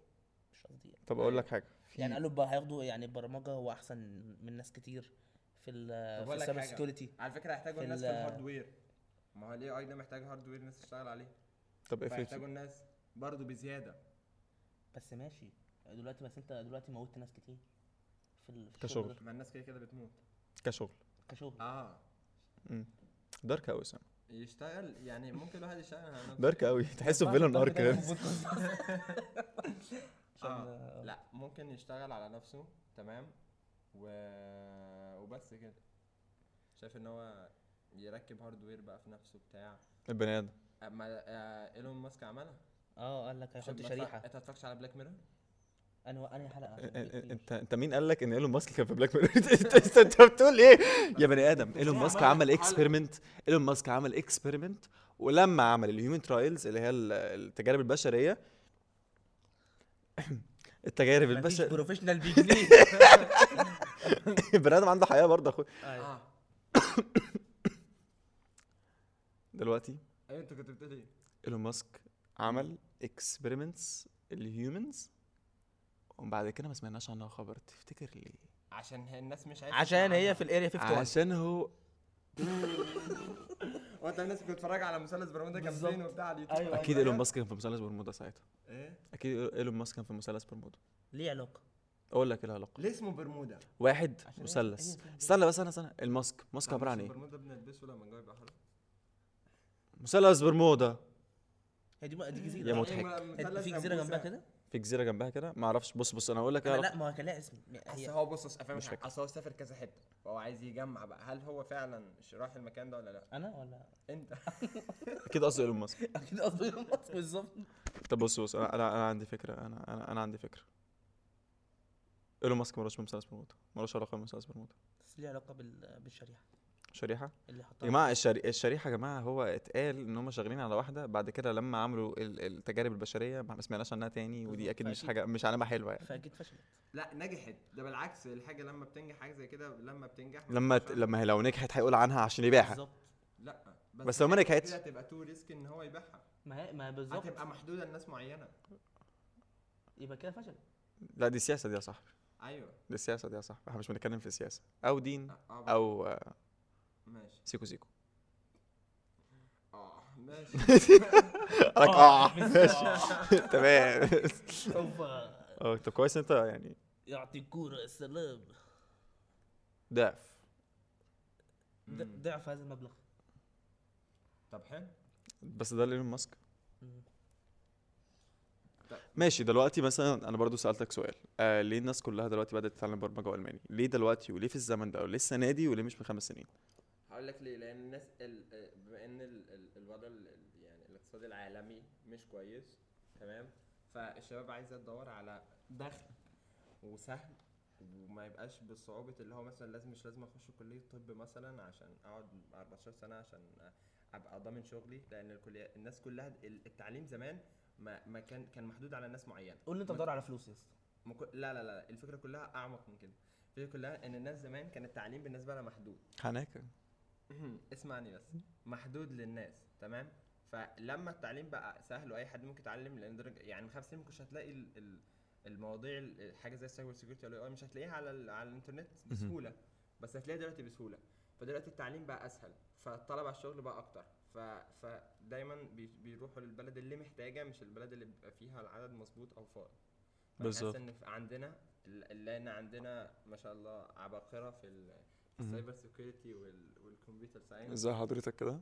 Speaker 1: مش قصدي يعني.
Speaker 2: طب اقول لك حاجه
Speaker 1: يعني قالوا بقى هياخدوا يعني البرمجه هو احسن من ناس كتير في ال في
Speaker 3: طب أقول لك
Speaker 1: السايبر
Speaker 3: حاجة.
Speaker 1: سكيورتي
Speaker 3: على فكره هيحتاجوا
Speaker 1: في
Speaker 3: الناس في
Speaker 1: ال-
Speaker 3: الهاردوير ما هو الاي اي ده محتاج هاردوير الناس تشتغل عليه
Speaker 2: طب
Speaker 3: فيحتاجوا
Speaker 2: افرض
Speaker 3: الناس برضه بزياده
Speaker 1: بس ماشي دلوقتي بس انت دلوقتي موتت ناس كتير في ال- في
Speaker 2: كشغل.
Speaker 1: الشغل ده.
Speaker 3: ما الناس كده كده بتموت
Speaker 2: كشغل
Speaker 1: كشغل
Speaker 3: اه
Speaker 2: مم. دارك قوي سام
Speaker 3: يشتغل يعني ممكن الواحد يشتغل على نفسه.
Speaker 2: دارك قوي تحسه في فيلن ارك
Speaker 1: كده
Speaker 2: كده
Speaker 3: آه.
Speaker 1: عشان
Speaker 3: لا ممكن يشتغل على نفسه تمام و... وبس كده شايف ان هو يركب هاردوير بقى في نفسه بتاع
Speaker 2: البني ادم
Speaker 3: اما آه، ايلون ماسك عملها
Speaker 1: اه قال لك هيحط
Speaker 3: شفت-
Speaker 1: شريحه
Speaker 3: انت ما اتفرجتش على بلاك ميرور
Speaker 1: انا انا حلقه
Speaker 2: أ-
Speaker 1: عشان
Speaker 2: أ-
Speaker 1: في كتير.
Speaker 2: انت انت مين قال لك ان ايلون ماسك كان في بلاك ميرور انت انت- انت بتقول ايه يا بني ادم ايلون ماسك عمل اكسبيرمنت ايلون ماسك عمل اكسبيرمنت ولما عمل الهيومن ترايلز اللي هي ال- التجارب البشريه التجارب
Speaker 1: مفيش
Speaker 2: البشريه
Speaker 1: بروفيشنال بيجنيه
Speaker 2: البني ادم عنده حياه برضه يا اخويا
Speaker 1: ايوه.
Speaker 3: اه
Speaker 2: دلوقتي
Speaker 3: ايوه انت كنت بتقول ايه
Speaker 2: ايلون ماسك عمل اكسبيرمنتس الهيومنز ومن بعد كده ما سمعناش عنها خبر تفتكر ليه
Speaker 3: عشان هي- الناس مش عايزه
Speaker 1: عشان
Speaker 3: تسمع
Speaker 1: هي
Speaker 3: عنها.
Speaker 1: في الاريا 51
Speaker 2: عشان هو
Speaker 3: وانت الناس بتتفرج على مثلث برمودا
Speaker 1: بالظبط.
Speaker 3: كامبين وبتاع على اليوتيوب
Speaker 1: أيوة.
Speaker 2: اكيد ايلون ماسك كان في مثلث برمودا ساعتها
Speaker 3: ايه
Speaker 2: اكيد ايلون ماسك كان في مثلث برمودا
Speaker 1: ليه علاقه
Speaker 2: اقول لك ايه العلاقه
Speaker 3: ليه اسمه برمودا؟
Speaker 2: واحد
Speaker 1: إيه؟ عشان أيوة، هي- هي
Speaker 2: مثلث
Speaker 1: فيها بيض.
Speaker 2: استنى بس انا استنى الماسك ماسك
Speaker 3: ما
Speaker 2: عباره عن
Speaker 3: اسم
Speaker 2: ايه
Speaker 3: برمودا بنلبسه لما الجو يبقى حر
Speaker 2: مثلث برمودا
Speaker 1: هي دي بقى دي
Speaker 2: يا
Speaker 1: جزيره
Speaker 2: مضحك.
Speaker 3: إيه،
Speaker 1: هي- في جزيره جنبها كده
Speaker 2: في جزيره جنبها كده ما اعرفش بص بص انا هقول لك إيه
Speaker 1: أنا
Speaker 2: العلاقة.
Speaker 1: لا ما هو كان لها اسم
Speaker 3: اصل
Speaker 1: هي
Speaker 3: هو بص أصل- فاهم
Speaker 2: مش فاكر.
Speaker 3: حاجه اصل هو سافر كذا حته فهو عايز يجمع بقى هل هو فعلا ش- راح المكان ده ولا لا؟
Speaker 1: انا ولا
Speaker 3: انت
Speaker 2: اكيد قصدي ايلون ماسك
Speaker 1: اكيد قصدي يوم مصر بالظبط
Speaker 2: طب بص بص انا انا أنا عندي فكره انا انا انا عندي فكره ايلون ماسك مالوش بمثلث برمودا مالوش علاقه بمثلث برمودا
Speaker 1: بس ليه علاقه بال- بالشريحه
Speaker 2: شريحه
Speaker 1: اللي
Speaker 2: يا
Speaker 1: حطها
Speaker 2: جماعه الشري... الشريحه يا جماعه هو اتقال ان هم شغالين على واحده بعد كده لما عملوا ال- التجارب البشريه ما ما سمعناش عنها تاني ودي
Speaker 1: بالظبط،
Speaker 2: اكيد مش
Speaker 1: طيب، فأكيد-
Speaker 2: حاجه مش علامه حلوه يعني
Speaker 1: فاكيد فشلت
Speaker 3: لا نجحت ده بالعكس الحاجه لما بتنجح حاجه زي كده لما بتنجح ما
Speaker 2: لما ت...
Speaker 3: بتبقاش-
Speaker 2: لما هي- لو نجحت هيقول عنها عشان يبيعها
Speaker 1: بالظبط
Speaker 3: لا
Speaker 2: بس لو ما
Speaker 3: الحاجة
Speaker 2: نجحتش.
Speaker 3: كده هتبقى تو ريسك ان هو يبيعها
Speaker 1: ما هي ما هي بالظبط
Speaker 3: هتبقى محدوده لناس معينه
Speaker 1: يبقى كده فشلت
Speaker 2: لا دي سياسه دي يا صاحبي
Speaker 3: ايوه
Speaker 2: دي السياسه دي يا صاحبي احنا مش بنتكلم في سياسه او دين
Speaker 3: اه آه،
Speaker 2: او آه،
Speaker 3: ماشي
Speaker 2: سيكو سيكو
Speaker 3: اه ماشي آه.
Speaker 2: لك اه تمام
Speaker 1: سوف
Speaker 2: اه طب كويس انت يعني
Speaker 1: يعطي الكوره السلام
Speaker 2: ضعف
Speaker 1: د-
Speaker 3: مم.
Speaker 1: ضعف هذا المبلغ
Speaker 3: طب حلو
Speaker 2: بس ده ايلون ماسك
Speaker 1: مم.
Speaker 2: ماشي دلوقتي مثلا انا برضو سالتك سؤال آه ليه الناس كلها دلوقتي بدات تتعلم برمجه والماني ليه دلوقتي وليه في الزمن ده وليه السنه دي وليه مش من خمس سنين
Speaker 3: هقول لك ليه لان الناس ال... آه، بما ان ال... ال... الوضع ال... ال- يعني الاقتصادي العالمي مش كويس تمام فالشباب عايزه تدور على دخل وسهل وما يبقاش بصعوبة اللي هو مثلا لازم مش لازم اخش كلية طب مثلا عشان اقعد 14 سنة عشان ابقى ضامن شغلي لان الكلية الناس كلها ال- التعليم زمان ما, ما كان كان محدود على ناس معينة
Speaker 1: قول لي انت
Speaker 3: ما-
Speaker 1: بتدور على فلوس يا اسطى
Speaker 3: ما كو- لا لا لا الفكرة كلها اعمق من كده الفكرة كلها ان الناس زمان كان التعليم بالنسبة لها محدود
Speaker 2: هناك
Speaker 3: اسمعني بس محدود للناس تمام فلما التعليم بقى سهل واي حد ممكن يتعلم لان درجة يعني من خمس سنين ما كنتش هتلاقي ال- ال- المواضيع ال- حاجه زي السايبر سيكيورتي ولا AI مش هتلاقيها على ال- على الانترنت بسهوله بس هتلاقيها دلوقتي بسهوله فدلوقتي التعليم بقى اسهل فالطلب على الشغل بقى اكتر ف... فدايما بي... بيروحوا للبلد اللي محتاجه مش البلد اللي بيبقى فيها العدد مظبوط او فاضي فأنا حاسس
Speaker 2: بالظبط.
Speaker 3: ان في- عندنا ال- لان عندنا ما شاء الله عباقره في ال...
Speaker 2: مهم.
Speaker 3: السايبر سيكيورتي وال... والكمبيوتر ساينس
Speaker 2: ازاي أيوة. حضرتك كده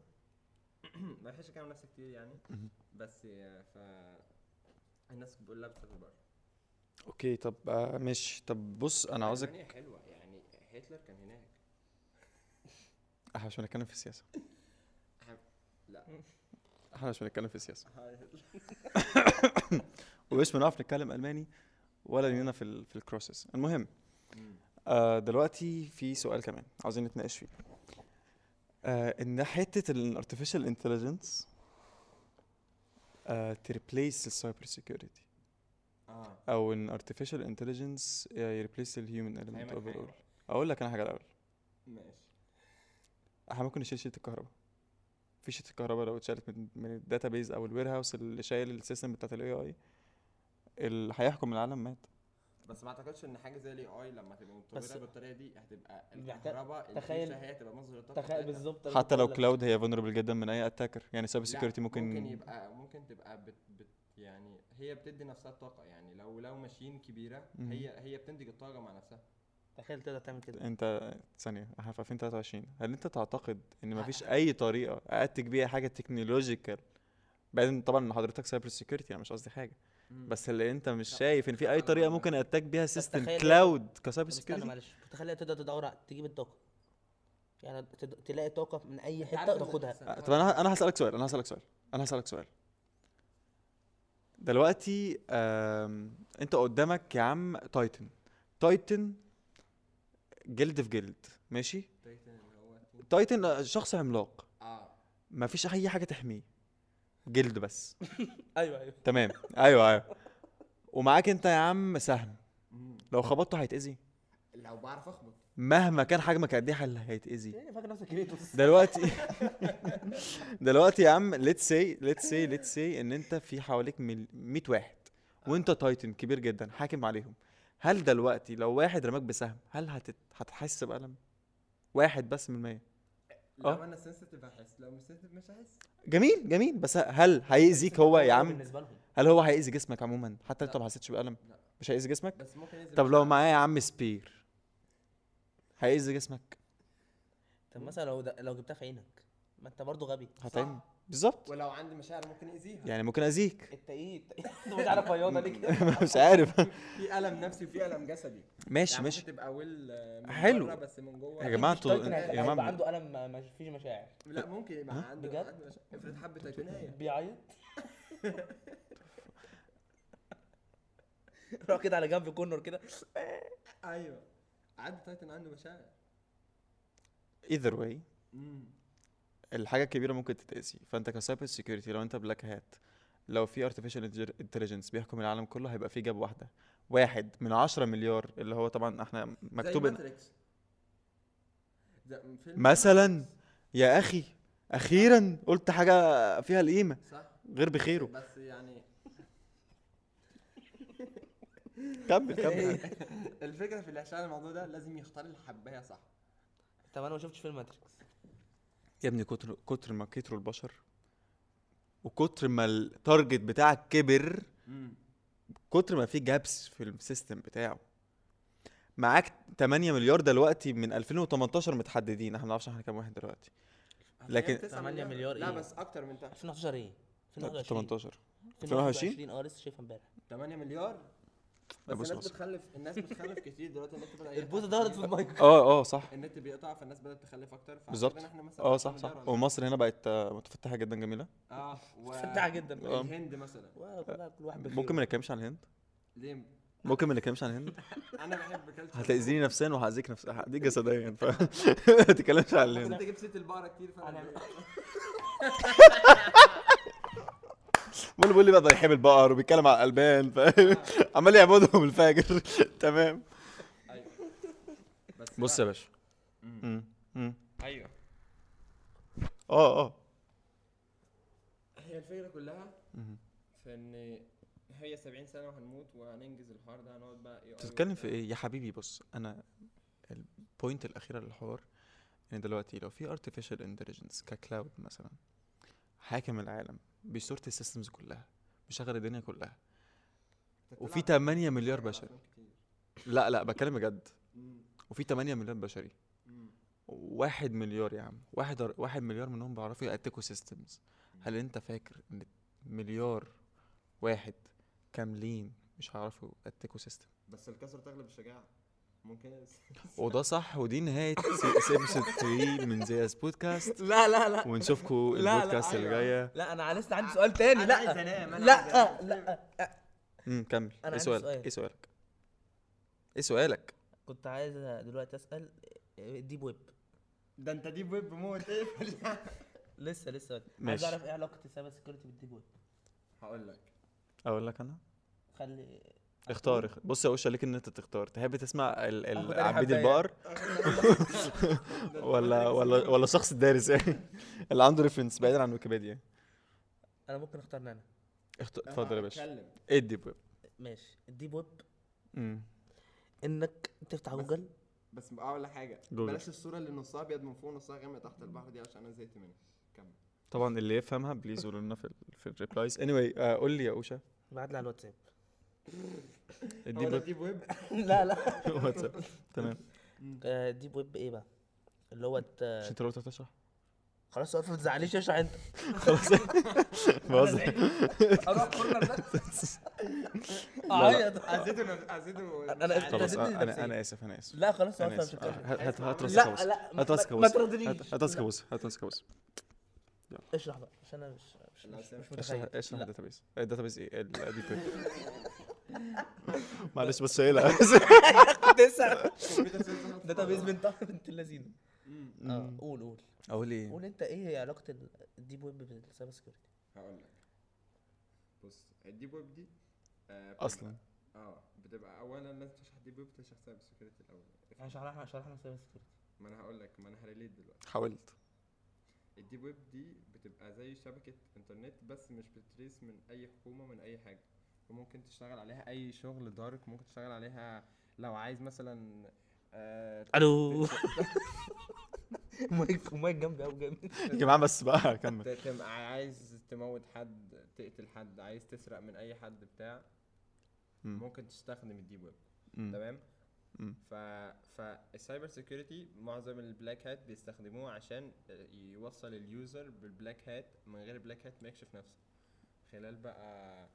Speaker 3: ما بحبش اتكلم عن نفسي كتير يعني
Speaker 2: مهم.
Speaker 3: بس آه، ف الناس بتقول لها بتسافر بره
Speaker 2: اوكي طب آه ماشي طب بص انا عاوزك
Speaker 3: ألمانيا حلوه يعني هتلر كان هناك
Speaker 2: احنا مش بنتكلم في السياسه
Speaker 3: لا
Speaker 2: احنا مش بنتكلم في السياسه ومش بنعرف نتكلم الماني ولا لينا في ال في الكروسس المهم آه دلوقتي في سؤال كمان عاوزين نتناقش فيه آه ان حته الارتفيشال انتليجنس آه، تريبليس السايبر سيكيورتي
Speaker 3: اه
Speaker 2: او ان artificial intelligence آه، يريبليس الهيومن element
Speaker 3: فاهمك
Speaker 2: overall
Speaker 3: حاجة.
Speaker 2: اقول لك انا حاجه الاول
Speaker 3: ماشي
Speaker 2: احنا ممكن نشيل شيت الكهرباء في شيت الكهرباء لو اتشالت من من الداتابيز او الوير هاوس اللي شايل السيستم بتاعت الاي اي اللي هيحكم العالم مات
Speaker 3: بس ما اعتقدش ان حاجه زي الاي اي لما تبقى
Speaker 1: بس-
Speaker 3: متطوره بالطريقه دي هتبقى
Speaker 1: محتاج-
Speaker 3: الكهرباء
Speaker 1: تخيل-
Speaker 3: الفيشه هي تبقى مصدر الطاقه
Speaker 1: تخيل
Speaker 3: بتاعتها.
Speaker 1: بالظبط أنا
Speaker 2: حتى
Speaker 1: كنت
Speaker 2: لو
Speaker 1: بقول لك.
Speaker 2: كلاود هي vulnerable جدا من اي اتاكر يعني سايبر
Speaker 3: لا،
Speaker 2: سيكيورتي
Speaker 3: ممكن
Speaker 2: ممكن
Speaker 3: يبقى ممكن تبقى بت بت يعني هي بتدي نفسها الطاقه يعني لو لو ماشين كبيره
Speaker 2: مم.
Speaker 3: هي هي بتنتج الطاقه مع نفسها
Speaker 1: تخيل تقدر تعمل كده
Speaker 2: انت ثانيه احنا في 2023 هل انت تعتقد ان مفيش اي طريقه ااتك بيها حاجه تكنولوجيكال بعدين طبعا إن حضرتك سايبر سيكيورتي انا مش قصدي حاجه بس اللي انت مش
Speaker 3: لا، إيه؟
Speaker 2: شايف ان في اي
Speaker 3: طبعاً
Speaker 2: طريقه
Speaker 3: طبعاً.
Speaker 2: ممكن اتاك بيها سيستم
Speaker 1: تخيل-
Speaker 2: كلاود كسايبر
Speaker 1: طب استنى
Speaker 2: سيكيورتي
Speaker 1: معلش تخيل تقدر تدور على- تجيب الطاقه يعني تد- تلاقي طاقه من اي
Speaker 3: أنت عارف
Speaker 1: حته
Speaker 3: إن-
Speaker 1: تاخدها
Speaker 3: استنى،
Speaker 2: طب انا انا هسالك سؤال انا هسالك سؤال انا هسالك سؤال دلوقتي آم، انت قدامك يا عم تايتن تايتن جلد في جلد ماشي
Speaker 3: تايتن اللي هو تين-
Speaker 2: تايتن آه، شخص عملاق
Speaker 3: اه
Speaker 2: مفيش اي حاجه تحميه جلد بس
Speaker 3: أيوة،
Speaker 1: ايوه ايوه
Speaker 2: تمام ايوه ايوه ومعاك انت يا عم سهم
Speaker 3: مم.
Speaker 2: لو خبطته هيتاذي
Speaker 3: لو بعرف اخبط
Speaker 2: مهما كان حجمك قد ايه هل- هيتاذي
Speaker 1: إيه، فاكر نفسك كريتوس
Speaker 2: دلوقتي دلوقتي يا عم ليتس سي ليتس سي ليتس سي ان انت في حواليك مل- 100 واحد وانت تايتن كبير جدا حاكم عليهم هل دلوقتي لو واحد رماك بسهم هل هتت... هتحس بألم؟ واحد بس من المية
Speaker 3: لو
Speaker 2: آه.
Speaker 3: انا سنسيتيف هحس لو مش سنسيتيف مش هحس
Speaker 2: جميل جميل بس هل هيأذيك هو يا عم
Speaker 1: بالنسبه لهم
Speaker 2: هل هو هيأذي جسمك عموما حتى انت
Speaker 3: لا.
Speaker 2: ما حسيتش بألم
Speaker 3: لا.
Speaker 2: مش هيأذي جسمك
Speaker 3: بس ممكن ينزل
Speaker 2: طب
Speaker 3: مش
Speaker 2: لو
Speaker 3: عارف.
Speaker 2: معايا يا عم سبير هيأذي جسمك
Speaker 1: طب مثلا لو ده- لو جبتها في عينك ما انت برضه غبي
Speaker 2: هتعمل بالظبط
Speaker 3: ولو عندي مشاعر ممكن يأذيها
Speaker 2: يعني ممكن أذيك
Speaker 1: انت ايه انت إيه؟ انت مش عارف رياضه ليه كده
Speaker 2: مش عارف
Speaker 3: في الم نفسي وفي الم جسدي
Speaker 2: يعني. ماشي
Speaker 3: يعني
Speaker 2: ماشي
Speaker 3: ممكن تبقى ويل آه، من
Speaker 2: حلو.
Speaker 3: بره بس من جوه
Speaker 2: يا جماعة
Speaker 1: مش
Speaker 2: انتوا-
Speaker 1: تايتن طيب، هيبقى-
Speaker 2: يا جماعة-
Speaker 1: هيبقى عنده الم ما- ما فيش مشاعر
Speaker 3: لا ممكن يبقى عنده
Speaker 1: بجد؟
Speaker 3: عنده مشاعر. افرض حب تايتانية
Speaker 1: بيعيط روح كده على جنب كورنر كده
Speaker 3: ايوه عدى تايتن عنده مشاعر
Speaker 2: either way
Speaker 3: امم
Speaker 2: الحاجه الكبيره ممكن تتقاسي فانت كسايبر سيكيورتي لو انت بلاك هات لو في ارتفيشال انتليجنس بيحكم العالم كله هيبقى في جاب واحده واحد من عشرة مليار اللي هو طبعا احنا مكتوب إن-
Speaker 3: ماتريكس فيلم
Speaker 2: مثلا يا اخي اخيرا قلت حاجه فيها القيمه
Speaker 3: صح
Speaker 2: غير بخيره
Speaker 3: بس يعني
Speaker 2: كمل كمل
Speaker 3: الفكره في اللي عشان الموضوع ده لازم يختار الحبايه صح
Speaker 1: طب انا ما شفتش فيلم ماتريكس
Speaker 2: يا ابني كتر كتر ما كتروا البشر وكتر ما التارجت بتاعك كبر
Speaker 3: امم
Speaker 2: كتر ما في جابس في السيستم بتاعه معاك 8 مليار دلوقتي من 2018 متحددين احنا ما نعرفش احنا كام واحد دلوقتي لكن-
Speaker 1: 8 مليار
Speaker 3: لا
Speaker 1: إيه؟
Speaker 3: بس اكتر من ده
Speaker 1: 2011 ايه 2021
Speaker 2: 18
Speaker 1: 2021 اه لسه شايفها امبارح
Speaker 3: 8 مليار
Speaker 2: لا،
Speaker 3: بس
Speaker 2: بص-
Speaker 3: الناس
Speaker 2: بص.
Speaker 3: بتخلف الناس بتخلف كتير دلوقتي النت بدأ يقطع
Speaker 1: البوزه
Speaker 3: كتير.
Speaker 1: ظهرت في المايك
Speaker 2: اه اه صح
Speaker 3: النت بيقطع فالناس بدأت تخلف اكتر فعشان
Speaker 2: بالظبط
Speaker 3: كده احنا مثلا
Speaker 2: اه
Speaker 3: 10
Speaker 2: صح صح
Speaker 3: مليار ولا-
Speaker 2: ومصر هنا بقت آه، متفتحه جدا جميله
Speaker 3: اه و...
Speaker 1: مفتحه جدا
Speaker 2: آه.
Speaker 3: الهند مثلا
Speaker 1: واو، كلها- كل واحد
Speaker 2: ممكن ما نتكلمش عن الهند
Speaker 3: ليه
Speaker 2: ممكن ما نتكلمش عن الهند
Speaker 3: انا بحب كلتشر
Speaker 2: هتاذيني نفسيا وهاذيك نفسيا هاذيك جسديا ف ما تتكلمش عن
Speaker 3: بس
Speaker 2: الهند
Speaker 3: انت جبت سيره البقره كتير فانا
Speaker 2: بيقول بيقول لي بقى بيحب البقر وبيتكلم على الالبان ف عمال يعبدهم الفاجر تمام
Speaker 3: أيوة. بس
Speaker 2: بص
Speaker 3: لا.
Speaker 2: يا باشا
Speaker 3: مم.
Speaker 2: مم. مم.
Speaker 3: ايوه
Speaker 2: اه اه
Speaker 3: هي الفكره كلها
Speaker 2: مم.
Speaker 3: في ان هي 70 سنه وهنموت وهننجز الحوار ده هنقعد بقى ايه
Speaker 2: انت بتتكلم في ايه يا حبيبي بص انا البوينت الاخيره للحوار ان دلوقتي لو في artificial intelligence ككلاود مثلا حاكم العالم بيسورت السيستمز كلها بيشغل الدنيا كلها وفي 8 مليار بشري لا لا بتكلم بجد وفي 8 مليار بشري واحد مليار يا عم واحد واحد مليار منهم بيعرفوا يأتكوا سيستمز هل انت فاكر ان مليار واحد كاملين مش هيعرفوا يأتكوا سيستم
Speaker 3: بس الكسر تغلب الشجاعه ممكن أس-
Speaker 2: وده صح ودي نهايه سيمسون 3 من زياز بودكاست
Speaker 1: لا لا لا
Speaker 2: ونشوفكم
Speaker 1: لا، لا،
Speaker 2: البودكاست اللي
Speaker 3: أيوة.
Speaker 2: جايه
Speaker 1: لا انا لسه عندي سؤال تاني
Speaker 3: أنا
Speaker 1: لا
Speaker 3: عايز أنام، أنا
Speaker 1: لا
Speaker 3: عايز أنام.
Speaker 1: لا
Speaker 2: امم كمل ايه
Speaker 1: عندي
Speaker 2: سؤالك
Speaker 1: سؤال.
Speaker 2: ايه سؤالك ايه سؤالك
Speaker 1: كنت عايز دلوقتي آه، اسال ديب ويب
Speaker 3: ده انت دي ويب موت إيه؟ اقفل يا عم.
Speaker 1: لسه لسه عايز
Speaker 2: ماشي.
Speaker 1: اعرف ايه علاقه السايبر سكيورتي بالديب ويب
Speaker 3: هقول لك
Speaker 2: اقول لك انا
Speaker 1: خلي
Speaker 2: اختار اخ- بص يا وش عليك ان انت تختار تحب تسمع ال...
Speaker 1: آخد
Speaker 2: ال...
Speaker 1: أي
Speaker 2: عبيد
Speaker 1: حباية.
Speaker 2: البقر
Speaker 3: ده
Speaker 2: ولا
Speaker 3: البطريق
Speaker 2: ولا ولا شخص دارس يعني اللي عنده ريفرنس بعيدا عن ويكيبيديا
Speaker 1: انا ممكن اختار نانا
Speaker 2: اخت-
Speaker 3: أنا
Speaker 2: اتفضل يا باشا
Speaker 3: هتكلم.
Speaker 2: ايه الديب ويب
Speaker 1: ماشي الديب ويب
Speaker 2: امم
Speaker 1: انك تفتح
Speaker 3: بس-
Speaker 1: جوجل
Speaker 3: بس اقول لك حاجه
Speaker 2: جوجل.
Speaker 3: بلاش الصوره اللي نصها ابيض من فوق ونصها غامق تحت البحر دي عشان انا زهقت منها كمل
Speaker 2: طبعا اللي يفهمها بليز قولوا لنا في ال- في الريبلايز اني anyway, آه قول لي يا اوشا
Speaker 1: بعت لي على الواتساب
Speaker 3: هو
Speaker 2: الديب
Speaker 3: ده
Speaker 2: ويب
Speaker 3: دي ويب
Speaker 1: لا لا
Speaker 2: واتساب تمام
Speaker 1: آه، ديب ويب ايه بقى اللي هو ت-
Speaker 2: مش انت لو تشرح
Speaker 1: خلاص اقف ما تزعليش اشرح انت
Speaker 2: خلاص بهزر
Speaker 1: اروح كورنر ده
Speaker 2: لا، لا.
Speaker 1: اعيط
Speaker 3: ازيدوا ازيدوا
Speaker 1: أنا- أنا-
Speaker 2: خلاص
Speaker 1: لازم
Speaker 2: انا
Speaker 1: نفسية.
Speaker 2: انا انا اسف انا اسف
Speaker 1: لا خلاص
Speaker 2: انا
Speaker 1: اقف مش
Speaker 2: اسف آه،
Speaker 1: هتكلم
Speaker 2: هات هات- هات راسك يا
Speaker 1: لا
Speaker 2: وسط.
Speaker 1: لا ما-
Speaker 2: هات راسك يا
Speaker 1: ما ما
Speaker 2: وسط.
Speaker 1: ترضينيش
Speaker 2: هات هات راسك
Speaker 1: لا،
Speaker 2: يا وسط. هات راسك يا وسط.
Speaker 1: اشرح بقى عشان انا مش مش-
Speaker 3: لا،
Speaker 1: مش
Speaker 3: سامح.
Speaker 1: مش
Speaker 2: اشرح
Speaker 1: متخيل
Speaker 2: اشرح
Speaker 1: لا.
Speaker 2: الداتابيز الداتابيز ايه الديب ويب معلش بس شايلها
Speaker 1: كنت لسه داتا بيز
Speaker 3: بيز
Speaker 1: بنت بنت اللذينه اه قول قول
Speaker 2: اقول ايه
Speaker 1: قول انت ايه هي علاقه ال- الديب ويب بالسايبر سكيورتي
Speaker 3: هقول لك بص الديب ويب دي آه، بتبقى-
Speaker 2: اصلا
Speaker 3: اه بتبقى اولا لازم تشرح الديب ويب تشرح سايبر سكيورتي الاول
Speaker 1: شرحنا شرحنا سايبر سكيورتي
Speaker 3: ما انا هقول لك ما انا هريليت دلوقتي
Speaker 2: حاولت
Speaker 3: الديب ويب دي بتبقى زي شبكة انترنت بس مش بتريس من اي حكومة من اي حاجة وممكن تشتغل عليها اي شغل دارك ممكن تشتغل عليها لو عايز مثلا آه
Speaker 1: الو مايك مايك جنبي قوي جامد
Speaker 2: يا جماعه بس بقى كمل
Speaker 3: ت- تم- عايز تموت حد تقتل حد عايز تسرق من اي حد بتاع
Speaker 2: مم.
Speaker 3: ممكن تستخدم الديب ويب
Speaker 2: مم.
Speaker 3: تمام
Speaker 2: مم.
Speaker 3: ف فالسايبر سيكيورتي معظم البلاك هات بيستخدموه عشان يوصل اليوزر بالبلاك هات من غير البلاك هات ما يكشف نفسه خلال بقى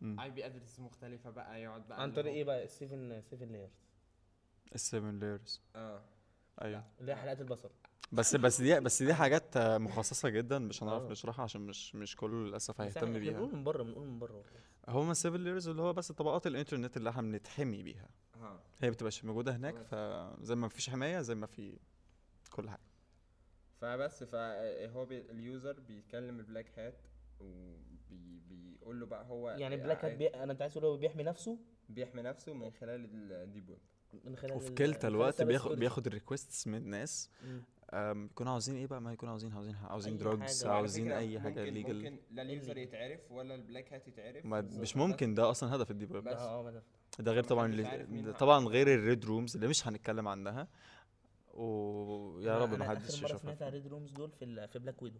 Speaker 2: مم.
Speaker 3: اي بي ادرس مختلفه بقى يقعد بقى
Speaker 1: عن
Speaker 3: اللي
Speaker 1: طريق
Speaker 3: هو-
Speaker 1: ايه بقى السيفن سيفن لايرز
Speaker 2: السيفن لايرز
Speaker 3: اه
Speaker 2: ايوه
Speaker 1: اللي هي حلقات البصل
Speaker 2: بس بس دي بس دي حاجات آه، مخصصه جدا مش هنعرف
Speaker 1: آه.
Speaker 2: نشرحها عشان مش مش كله للاسف
Speaker 1: بس احنا
Speaker 2: هيهتم
Speaker 1: إحنا
Speaker 2: طيب، بيها
Speaker 1: بنقول من بره بنقول من بره والله.
Speaker 2: هما السيفن لايرز اللي هو بس طبقات الانترنت اللي احنا بنتحمي بيها
Speaker 3: اه
Speaker 2: هي بتبقاش موجوده هناك
Speaker 3: خلاص.
Speaker 2: فزي ما مفيش حمايه زي ما في كل حاجه
Speaker 3: فبس فهو بي اليوزر بيكلم البلاك هات وبيقول له بقى هو
Speaker 1: يعني بلاك هات
Speaker 3: عايز-
Speaker 1: بي... انا انت عايز تقول هو بيحمي نفسه
Speaker 3: بيحمي نفسه من خلال ال- الديب ويب
Speaker 1: من خلال
Speaker 2: وفي
Speaker 1: ال-
Speaker 2: كلتا
Speaker 1: من خلال
Speaker 2: الوقت
Speaker 1: السايبر
Speaker 2: بياخد
Speaker 1: سيكيورتي.
Speaker 2: بياخد الريكويستس من الناس
Speaker 1: مم.
Speaker 2: أم، يكونوا عاوزين ايه بقى ما يكونوا عاوزين عاوزين عاوزين
Speaker 1: أي
Speaker 2: دروجز
Speaker 1: حاجة. وعلى
Speaker 2: عاوزين
Speaker 3: فكرة
Speaker 2: اي حاجه
Speaker 3: ممكن
Speaker 2: ليجل
Speaker 3: ممكن لا اليوزر
Speaker 1: illegal.
Speaker 3: يتعرف ولا البلاك هات يتعرف
Speaker 2: مش ممكن ده اصلا هدف الديب ويب
Speaker 3: بس.
Speaker 1: اه اه ما ده
Speaker 2: ده غير
Speaker 3: ما
Speaker 2: طبعا
Speaker 3: حدش
Speaker 2: اللي-
Speaker 3: عارف مين
Speaker 2: ده
Speaker 3: هو.
Speaker 2: طبعا غير الريد رومز اللي مش هنتكلم عنها ويا
Speaker 1: أنا-
Speaker 2: رب
Speaker 1: أنا
Speaker 2: ما حدش
Speaker 1: اخر مره سمعت عن
Speaker 2: يشوفها
Speaker 1: ريد رومز دول في ال- في بلاك ويدو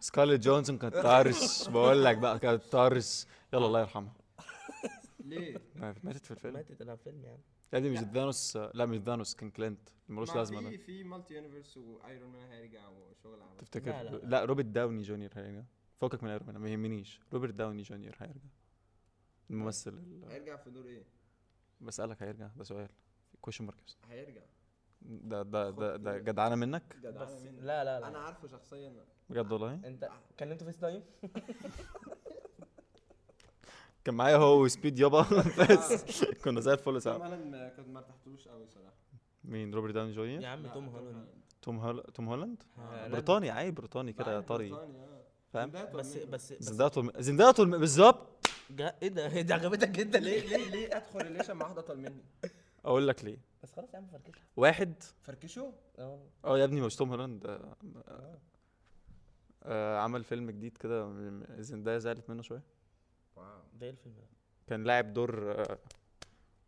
Speaker 2: سكارليت جونسون كانت طرش بقول لك بقى كانت طرش يلا الله يرحمها
Speaker 3: ليه؟
Speaker 2: ما- ماتت في الفيلم
Speaker 1: ماتت انا فيلم يعني
Speaker 2: يا ابني مش ذانوس لا مش ذانوس كان كلينت ملوش
Speaker 3: ما
Speaker 2: لازمه ده
Speaker 3: في في مالتي يونيفرس وايرون مان هيرجع وشغل عبط
Speaker 2: تفتكر
Speaker 1: لا، لا، لا.
Speaker 2: لا روبرت داوني جونيور هيرجع فكك من ايرون مان، ما يهمنيش روبرت داوني جونيور هيرجع الممثل ال-
Speaker 3: هيرجع في دور ايه؟
Speaker 2: بسألك هيرجع ده سؤال كويشن مارك
Speaker 3: هيرجع
Speaker 2: ده ده ده, ده
Speaker 3: خد-
Speaker 2: جدعانه منك
Speaker 3: جدعانة
Speaker 1: بس
Speaker 3: مني
Speaker 1: لا لا
Speaker 3: انا
Speaker 1: لا
Speaker 3: عارفه شخصيا
Speaker 2: بجد والله
Speaker 1: انت كلمته فيس تايم
Speaker 2: كان معايا هو وسبيد يابا بس كنا زي الفل
Speaker 3: توم
Speaker 2: سوا
Speaker 3: هالاند كنت ما ارتحتلوش قوي صراحه
Speaker 2: مين روبرت داوني
Speaker 1: يا
Speaker 2: جونيور
Speaker 1: عم
Speaker 3: لا،
Speaker 1: توم هولاند
Speaker 2: توم هول... توم هولاند
Speaker 1: آه، لا،
Speaker 2: بريطاني عيب بريطاني كده يا
Speaker 3: بعد
Speaker 2: طري
Speaker 3: بريطانيا، آه.
Speaker 2: فاهم؟
Speaker 3: زندات ولا
Speaker 1: بس
Speaker 3: مين؟
Speaker 1: بس بس
Speaker 2: زندايا طول زندايا طول بالظبط
Speaker 1: جا- ايه ده إيه ده عجبتك جدا
Speaker 3: ليه
Speaker 1: ليه
Speaker 3: ليه ليه ادخل ريليشن مع واحده اطول مني؟
Speaker 2: اقول لك ليه
Speaker 1: بس خلاص يا عم فركشه
Speaker 2: واحد
Speaker 3: فركشوا
Speaker 1: اه
Speaker 2: اه يا ابني مش توم هولاند آه، آه، عمل فيلم جديد كده م- م- زندايا زعلت منه شويه
Speaker 3: واو
Speaker 1: ده ايه الفيلم ده
Speaker 2: كان لاعب دور آه،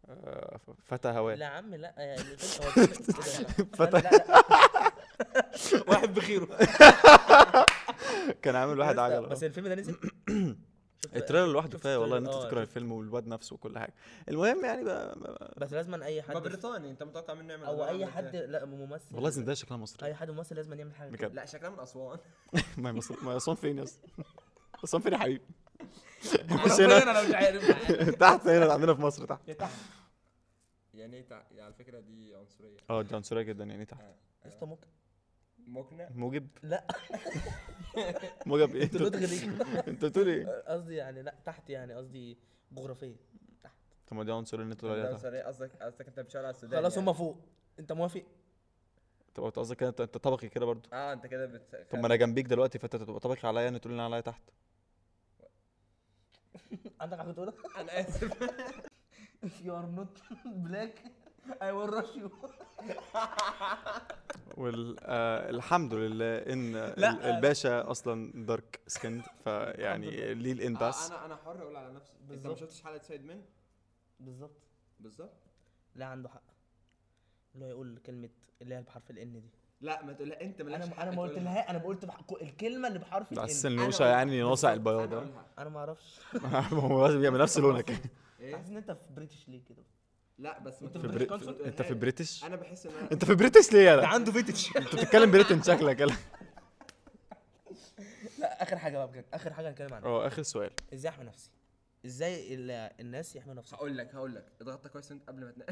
Speaker 2: آه، ف- فتى
Speaker 1: لا
Speaker 2: هواه
Speaker 1: يا عم لا يا- الفيلم- هو الفيلم كده لا.
Speaker 2: فتى
Speaker 1: لا، لا، لا. واحد بخيره
Speaker 2: كان عامل واحد
Speaker 1: لسه-
Speaker 2: عجله
Speaker 1: بس الفيلم ده نزل شفت-
Speaker 2: التريلر لوحده
Speaker 1: شفت
Speaker 2: كفايه والله ان
Speaker 1: التريلر،
Speaker 2: انت
Speaker 1: آه،
Speaker 2: تذكر
Speaker 1: شفت.
Speaker 2: الفيلم والواد نفسه وكل حاجه المهم يعني بقى
Speaker 1: بس لازم اي
Speaker 3: ما
Speaker 1: حد
Speaker 3: بريطاني انت متوقع منه يعمل
Speaker 1: او
Speaker 3: أدوار
Speaker 1: اي
Speaker 3: عاملة
Speaker 1: حد
Speaker 3: إزاي؟
Speaker 1: لا ممثل
Speaker 2: والله زندايا شكلها مصري أيوة.
Speaker 1: اي حد ممثل لازم يعمل حاجه كده
Speaker 2: بجد
Speaker 3: لا شكلها من اسوان
Speaker 2: ما هي مصر ما هي اسوان فين يا اسطى اسوان فين يا حبيبي مش
Speaker 1: حرفياً
Speaker 2: هنا
Speaker 1: انا مش عارف
Speaker 2: تحت هنا عندنا في مصر تحت
Speaker 1: يا تحت
Speaker 3: يعني ايه تع- يعني على فكره دي عنصريه
Speaker 2: اه دي عنصريه جدا يعني تحت
Speaker 3: آه،
Speaker 1: يا اسطى ممكن
Speaker 3: مقنع
Speaker 2: موجب
Speaker 1: لا
Speaker 2: موجب ايه
Speaker 1: انت بتلغي ليه؟
Speaker 2: انت بتقول ايه
Speaker 1: قصدي يعني لا تحت يعني قصدي جغرافيا تحت
Speaker 2: طب ما دي عنصريه اللي انت بتقول
Speaker 3: ده
Speaker 2: عليها تحت
Speaker 3: عنصريه قصدك قصدك انت بتشاور على السودان
Speaker 1: خلاص
Speaker 3: يعني.
Speaker 1: هما فوق انت موافق
Speaker 2: طب أنت قصدك كده انت أنت طبقي كده برضو
Speaker 3: اه انت كده بت
Speaker 2: طب ما انا جنبيك دلوقتي فانت تبقى طبقي عليا ان تقول لي عليا تحت
Speaker 1: عندك حاجه تقولها
Speaker 3: انا اسف
Speaker 1: if you are not black I will rush you
Speaker 2: والحمد آه، لله ان ال-
Speaker 1: لا.
Speaker 2: الباشا اصلا دارك سكند فيعني ليه
Speaker 3: آه
Speaker 2: الانتاس
Speaker 3: انا انا حر اقول على نفسي انت ما
Speaker 1: بالظبط.
Speaker 3: شفتش حلقه سايد مان
Speaker 1: بالظبط
Speaker 3: بالظبط
Speaker 1: لا عنده حق اللي هو يقول كلمه اللي هي بحرف الان دي
Speaker 3: لا ما تقولها انت مالكش
Speaker 1: انا
Speaker 3: حق
Speaker 1: انا ما
Speaker 3: تقولها.
Speaker 1: قلتلها انا قلت بحق الكلمه اللي بحرف
Speaker 2: على اساس
Speaker 1: الان
Speaker 2: ان
Speaker 3: أنا
Speaker 2: نوشا
Speaker 3: أقولها.
Speaker 2: يعني ناصع
Speaker 3: بالظبط،
Speaker 2: البياض
Speaker 3: أنا
Speaker 2: ده
Speaker 3: أقولها.
Speaker 1: انا ما اعرفش
Speaker 2: هو لازم يعمل نفس لونك
Speaker 3: ايه
Speaker 1: حاسس ان انت في بريتش ليه كده
Speaker 3: لا بس ما
Speaker 1: أنت في
Speaker 2: في
Speaker 1: بريتش
Speaker 3: تقولهاش.
Speaker 2: بري-
Speaker 1: كونسول؟
Speaker 2: انت في
Speaker 3: تقولهاش.
Speaker 2: بريتش
Speaker 3: انا بحس ان انا
Speaker 2: انت في بريتش ليه
Speaker 1: ده
Speaker 2: يا
Speaker 1: عنده فيتش
Speaker 2: انت بتتكلم بريتن شكلك يلا
Speaker 1: لا اخر حاجه بقى بجد اخر حاجه هنتكلم عنها
Speaker 2: اه اخر سؤال
Speaker 1: ازاي احمي نفسي ازاي ال- الناس يحموا نفسهم
Speaker 3: هقول لك هقول لك اضغطها كويس انت قبل ما تنام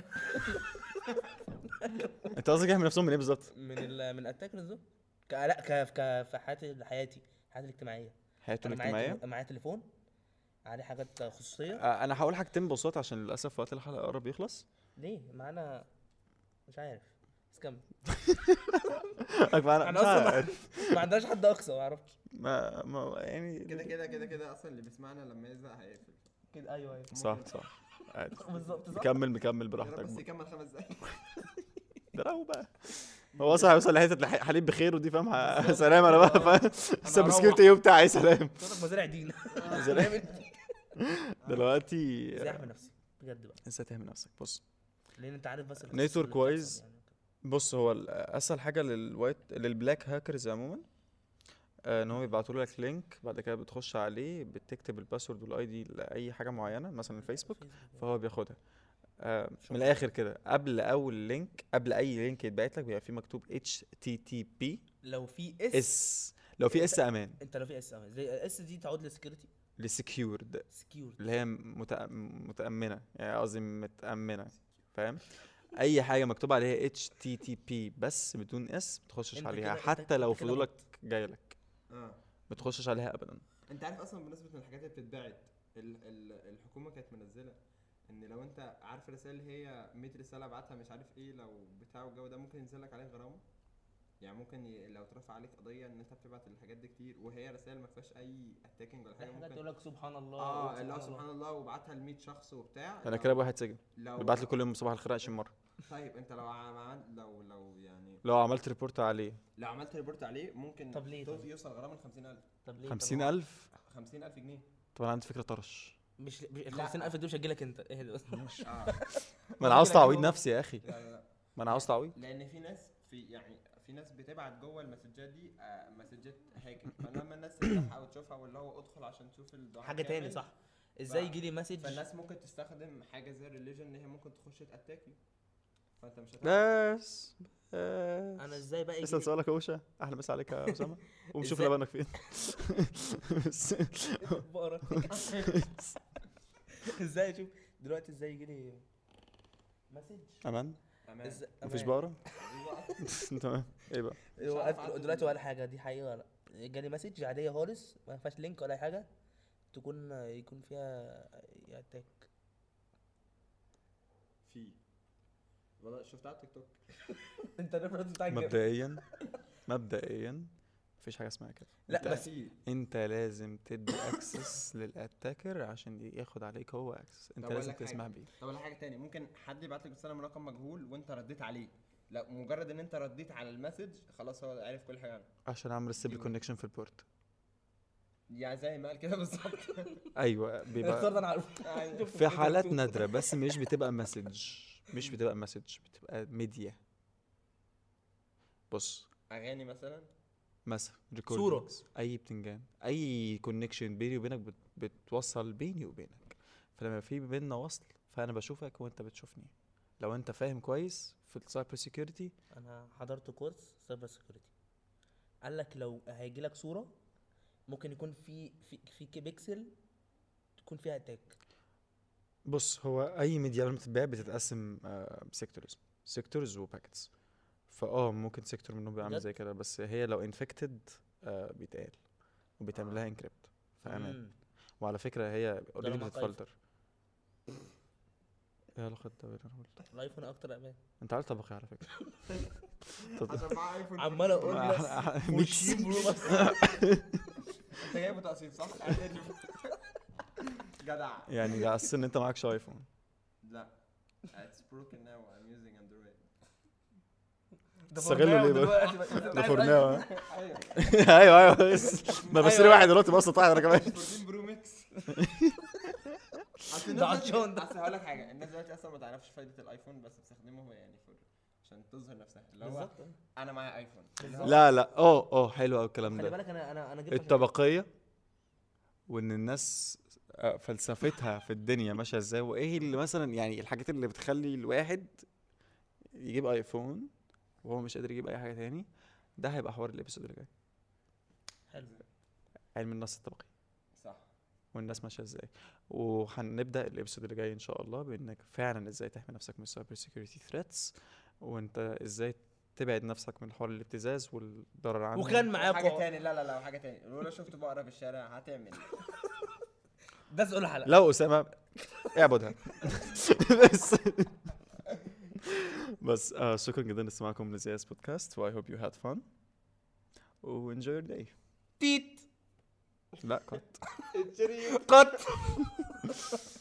Speaker 2: انت قصدك يحمي نفسهم من ايه بالظبط؟
Speaker 1: من ال من اتاكرز دول ك- لا ك ك- في حياتي حياتي حياتي الاجتماعيه
Speaker 2: حياته
Speaker 1: انا معايا
Speaker 2: الاجتماعيه
Speaker 1: تليفون- معايا تليفون عليه حاجات خصوصيه
Speaker 2: آه، انا هقول حاجتين ببساطه عشان للاسف وقت الحلقه قرب يخلص
Speaker 1: ليه معانا مش عارف بس كمل
Speaker 2: انا
Speaker 1: أنا
Speaker 2: مش
Speaker 1: أصلاً-
Speaker 2: عارف.
Speaker 1: ما عندناش حد اقصى ما اعرفش
Speaker 2: ما ما
Speaker 3: كده
Speaker 2: يعني
Speaker 3: كده كده كده اصلا اللي بيسمعنا لما يزهق هيقفل
Speaker 1: كده ايوه ايوه
Speaker 2: صح صح عادي.
Speaker 1: بالظبط صح
Speaker 2: كمل مكمل
Speaker 3: يا رب
Speaker 2: براحتك
Speaker 3: بس
Speaker 2: بقى.
Speaker 3: يكمل خمس دقايق
Speaker 2: ده لو بقى هو اصلا هيوصل لحته الح- حليب بخير ودي فاهم ه- سلام انا بقى فاهم سبسكريبت ايه وبتاع ايه سلام
Speaker 1: صوتك مزارع دين
Speaker 2: دلوقتي
Speaker 1: ازاي احمي نفسي بجد بقى
Speaker 2: انسى تهمل نفسك بص
Speaker 1: لان انت عارف بس
Speaker 2: نتورك
Speaker 1: القصص اللي
Speaker 2: وايز.
Speaker 1: بتحصل يعني.
Speaker 2: بص هو ال- اسهل حاجه للوايت للبلاك هاكرز عموما آه، ان هم بيبعتوا لك لينك بعد كده بتخش عليه بتكتب الباسورد والاي دي لاي حاجه معينه مثلا الفيسبوك فهو بياخدها آه، من الاخر كده قبل اول لينك قبل اي لينك يتبعت لك بيبقى فيه مكتوب HTTP
Speaker 1: لو في اس,
Speaker 2: اس لو في اس امان
Speaker 1: انت لو في اس اه زي اس دي تعود لسكيورتي
Speaker 2: لسكيورد
Speaker 1: سكيور
Speaker 2: اللي هي متأ- متامنه يعني قصدي متامنه فاهم اي حاجه مكتوب عليها HTTP بس بدون اس ما تخشش
Speaker 1: انت
Speaker 2: عليها
Speaker 1: كده- انت-
Speaker 2: حتى لو
Speaker 1: انت كده
Speaker 2: فضولك جايلك
Speaker 3: اه
Speaker 2: ما تخشش عليها ابدا
Speaker 3: انت عارف اصلا بالنسبه للحاجات اللي بتتبعت ال- ال- الحكومه كانت منزله ان لو انت عارف الرسائل اللي هي 100 رساله بعتها مش عارف ايه لو بتاع والجو ده ممكن ينزل لك عليك غرامه يعني ممكن ي... لو اترفع عليك قضيه ان انت بتبعت الحاجات دي كتير وهي رسائل ما فيهاش اي اتاكينج ولا حاجه
Speaker 1: حاجات
Speaker 3: ممكن
Speaker 1: تقول لك سبحان الله
Speaker 3: اه اللي هو سبحان الله وبعتها ل 100 شخص
Speaker 1: آه.
Speaker 3: وبتاع
Speaker 2: انا
Speaker 3: لو-
Speaker 2: كده واحد سجن
Speaker 3: لو
Speaker 2: بيبعت لي كل يوم صباح الخير 20 مره
Speaker 3: طيب انت لو عملت لو لو يعني
Speaker 2: لو عملت ريبورت عليه
Speaker 3: لو عملت ريبورت عليه ممكن
Speaker 1: طب ليه؟ طيب؟
Speaker 3: توصل-
Speaker 1: طب؟
Speaker 3: يوصل غرامه ل 50000
Speaker 1: طب ليه طب
Speaker 2: 50000
Speaker 3: 50000 جنيه
Speaker 2: طب انا عندي فكره طرش
Speaker 1: مش ال 50000 دول مش هتجيلك انت اهدى بس
Speaker 3: اه
Speaker 2: ما انا عاوز تعويض نفسي يا اخي
Speaker 3: لا لا لا
Speaker 2: ما انا عاوز تعويض
Speaker 3: لان في ناس في يعني في ناس بتبعت جوه المسجات دي آه، مسجات هاكر فلما الناس تفتحها وتشوفها واللي هو ادخل عشان تشوف الدعاء
Speaker 1: حاجه تاني
Speaker 3: كامل،
Speaker 1: صح ازاي
Speaker 3: ف-
Speaker 1: يجي لي مسج
Speaker 3: فالناس ممكن تستخدم حاجه زي الريليجن ان هي ممكن تخش تاتاك يو فانت مش هتعرف
Speaker 2: بس
Speaker 1: انا
Speaker 2: بس
Speaker 1: ازاي بقى يجي
Speaker 2: اسال
Speaker 1: لي-
Speaker 2: سؤالك يا اوشا احلى مسا عليك يا اسامه قوم شوف
Speaker 1: إزاي-
Speaker 2: لبنك فين بس-
Speaker 1: بقرا ازاي اشوف دلوقتي ازاي يجي لي مسج
Speaker 2: امان
Speaker 3: تمام
Speaker 1: إز-
Speaker 2: مفيش
Speaker 1: أمان.
Speaker 2: بقره تمام ايه بقى
Speaker 1: هو
Speaker 3: مش عارف
Speaker 1: قفل-
Speaker 3: أعدل
Speaker 1: دلوقتي
Speaker 3: ال-
Speaker 1: ولا حاجه دي حقيقه ولا لا جالي مسج عاديه خالص ما فيهاش لينك ولا أي حاجه تكون يكون فيها اتاك
Speaker 3: في والله شفتها على التيك توك
Speaker 1: انت الريفرنس بتاعك جامد.
Speaker 2: مبدئيا مبدئيا مفيش حاجه اسمها كده
Speaker 1: لا
Speaker 2: أنت-
Speaker 1: بس
Speaker 3: في
Speaker 2: انت لازم تدي اكسس للاتاكر عشان ياخد عليك هو اكسس
Speaker 3: طب
Speaker 2: انت
Speaker 3: أقول
Speaker 2: لازم
Speaker 3: لك حاجة.
Speaker 2: تسمح بيه
Speaker 3: طب ولا حاجه تاني ممكن حد يبعت لك رساله من رقم مجهول وانت رديت عليه لا مجرد ان انت رديت على المسج خلاص هو عارف كل حاجه عنك
Speaker 2: عشان اعمل ستيبل
Speaker 3: دي مهم.
Speaker 2: كونكشن في البورت
Speaker 3: يعني زي ما قال كده بالظبط أيوه.
Speaker 2: ايوه
Speaker 1: اختار ده
Speaker 2: بيبقى
Speaker 1: انا عارفه
Speaker 2: في حالات نادره بس مش بتبقى مسج مش بتبقى مسج بتبقى ميديا بص
Speaker 3: اغاني مثلا
Speaker 2: مثلا
Speaker 1: صورة.
Speaker 2: recordings، اي بتنجان اي كونكشن بيني وبينك بت- بتوصل بيني وبينك فلما في بيننا وصل فانا بشوفك وانت بتشوفني لو انت فاهم كويس في السايبر سيكيورتي
Speaker 1: انا حضرت كورس سايبر سيكيورتي قال لك لو هيجي لك صوره ممكن يكون في في في بيكسل تكون فيها اتاك
Speaker 2: بص هو اي ميديا لما بتتباع بتتقسم آه، سيكتورز سيكتورز وباكتس فاه ممكن سيكتور منهم بيبقى عامل
Speaker 1: بجد؟
Speaker 2: زي كده بس هي لو انفكتد بيتقال وبيتعمل لها انكريبت فامان
Speaker 1: مم. طيب.
Speaker 2: وعلى فكره هي اوريدي
Speaker 1: معاك iPhone.
Speaker 2: بتتفلتر ايه علاقه ده باللي انا قلته
Speaker 1: الايفون اكتر امان
Speaker 2: انت عارف طبخي على فكره طب-
Speaker 3: عشان معاه ايفون
Speaker 1: عمال اقول
Speaker 2: ما-
Speaker 1: بس
Speaker 2: ح- آه، ميكس.
Speaker 1: 20 برو بس
Speaker 3: انت جايبه تقسيط صح؟ جدع
Speaker 2: يعني ده على أساس ان انت معكش ايفون
Speaker 3: لا it's broken now I'm using Android
Speaker 1: ده
Speaker 2: استغلوا ليه
Speaker 1: فورناو
Speaker 2: بقى؟
Speaker 1: دلوقتي بقى. أيوة. أنت عايز iPhone.
Speaker 2: ده فورناو ها؟ ايوه
Speaker 3: ايوه
Speaker 2: ايوه بس ما بشتري
Speaker 1: أيوة.
Speaker 2: واحد دلوقتي بقسط واحد انا كمان
Speaker 3: 14 برو ميكس
Speaker 1: ده عطشان ده.
Speaker 3: اصل هقول لك حاجه الناس دلوقتي اصلا ما تعرفش فايده الايفون بس بتستخدمه هو يعني for عشان تظهر نفسها اللي هو
Speaker 1: بالظبط
Speaker 3: انا معايا ايفون اللي هو
Speaker 2: لا لا اه اه حلو قوي الكلام
Speaker 1: خلي
Speaker 2: ده
Speaker 1: بالك انا انا انا جبت عشان-
Speaker 2: الطبقيه وان الناس آه، فلسفتها في الدنيا ماشيه ازاي وايه اللي مثلا يعني الحاجات اللي بتخلي الواحد يجيب ايفون وهو مش قادر يجيب اي حاجه تاني ده هيبقى حوار الابيسود اللي جاي
Speaker 1: حلو
Speaker 2: علم النص الطبقي
Speaker 3: صح
Speaker 2: والناس ماشيه ازاي وهنبدا الابيسود اللي جاي ان شاء الله بانك فعلا ازاي تحمي نفسك من السايبر سيكيورتي ثريتس وانت ازاي تبعد نفسك من حوار الابتزاز والضرر عنه
Speaker 1: وكان
Speaker 3: حاجه
Speaker 1: معاكم
Speaker 3: تاني لا لا لا وحاجه تاني لو شفت بقره في الشارع هتعمل إيه؟
Speaker 1: ده سؤال الحلقه
Speaker 2: لو اسامه اعبدها بس بس آه شكرا جدا لاستماعكم لزياس بودكاست و I hope you had fun و enjoy your day
Speaker 1: تيت
Speaker 2: لا كات
Speaker 1: قط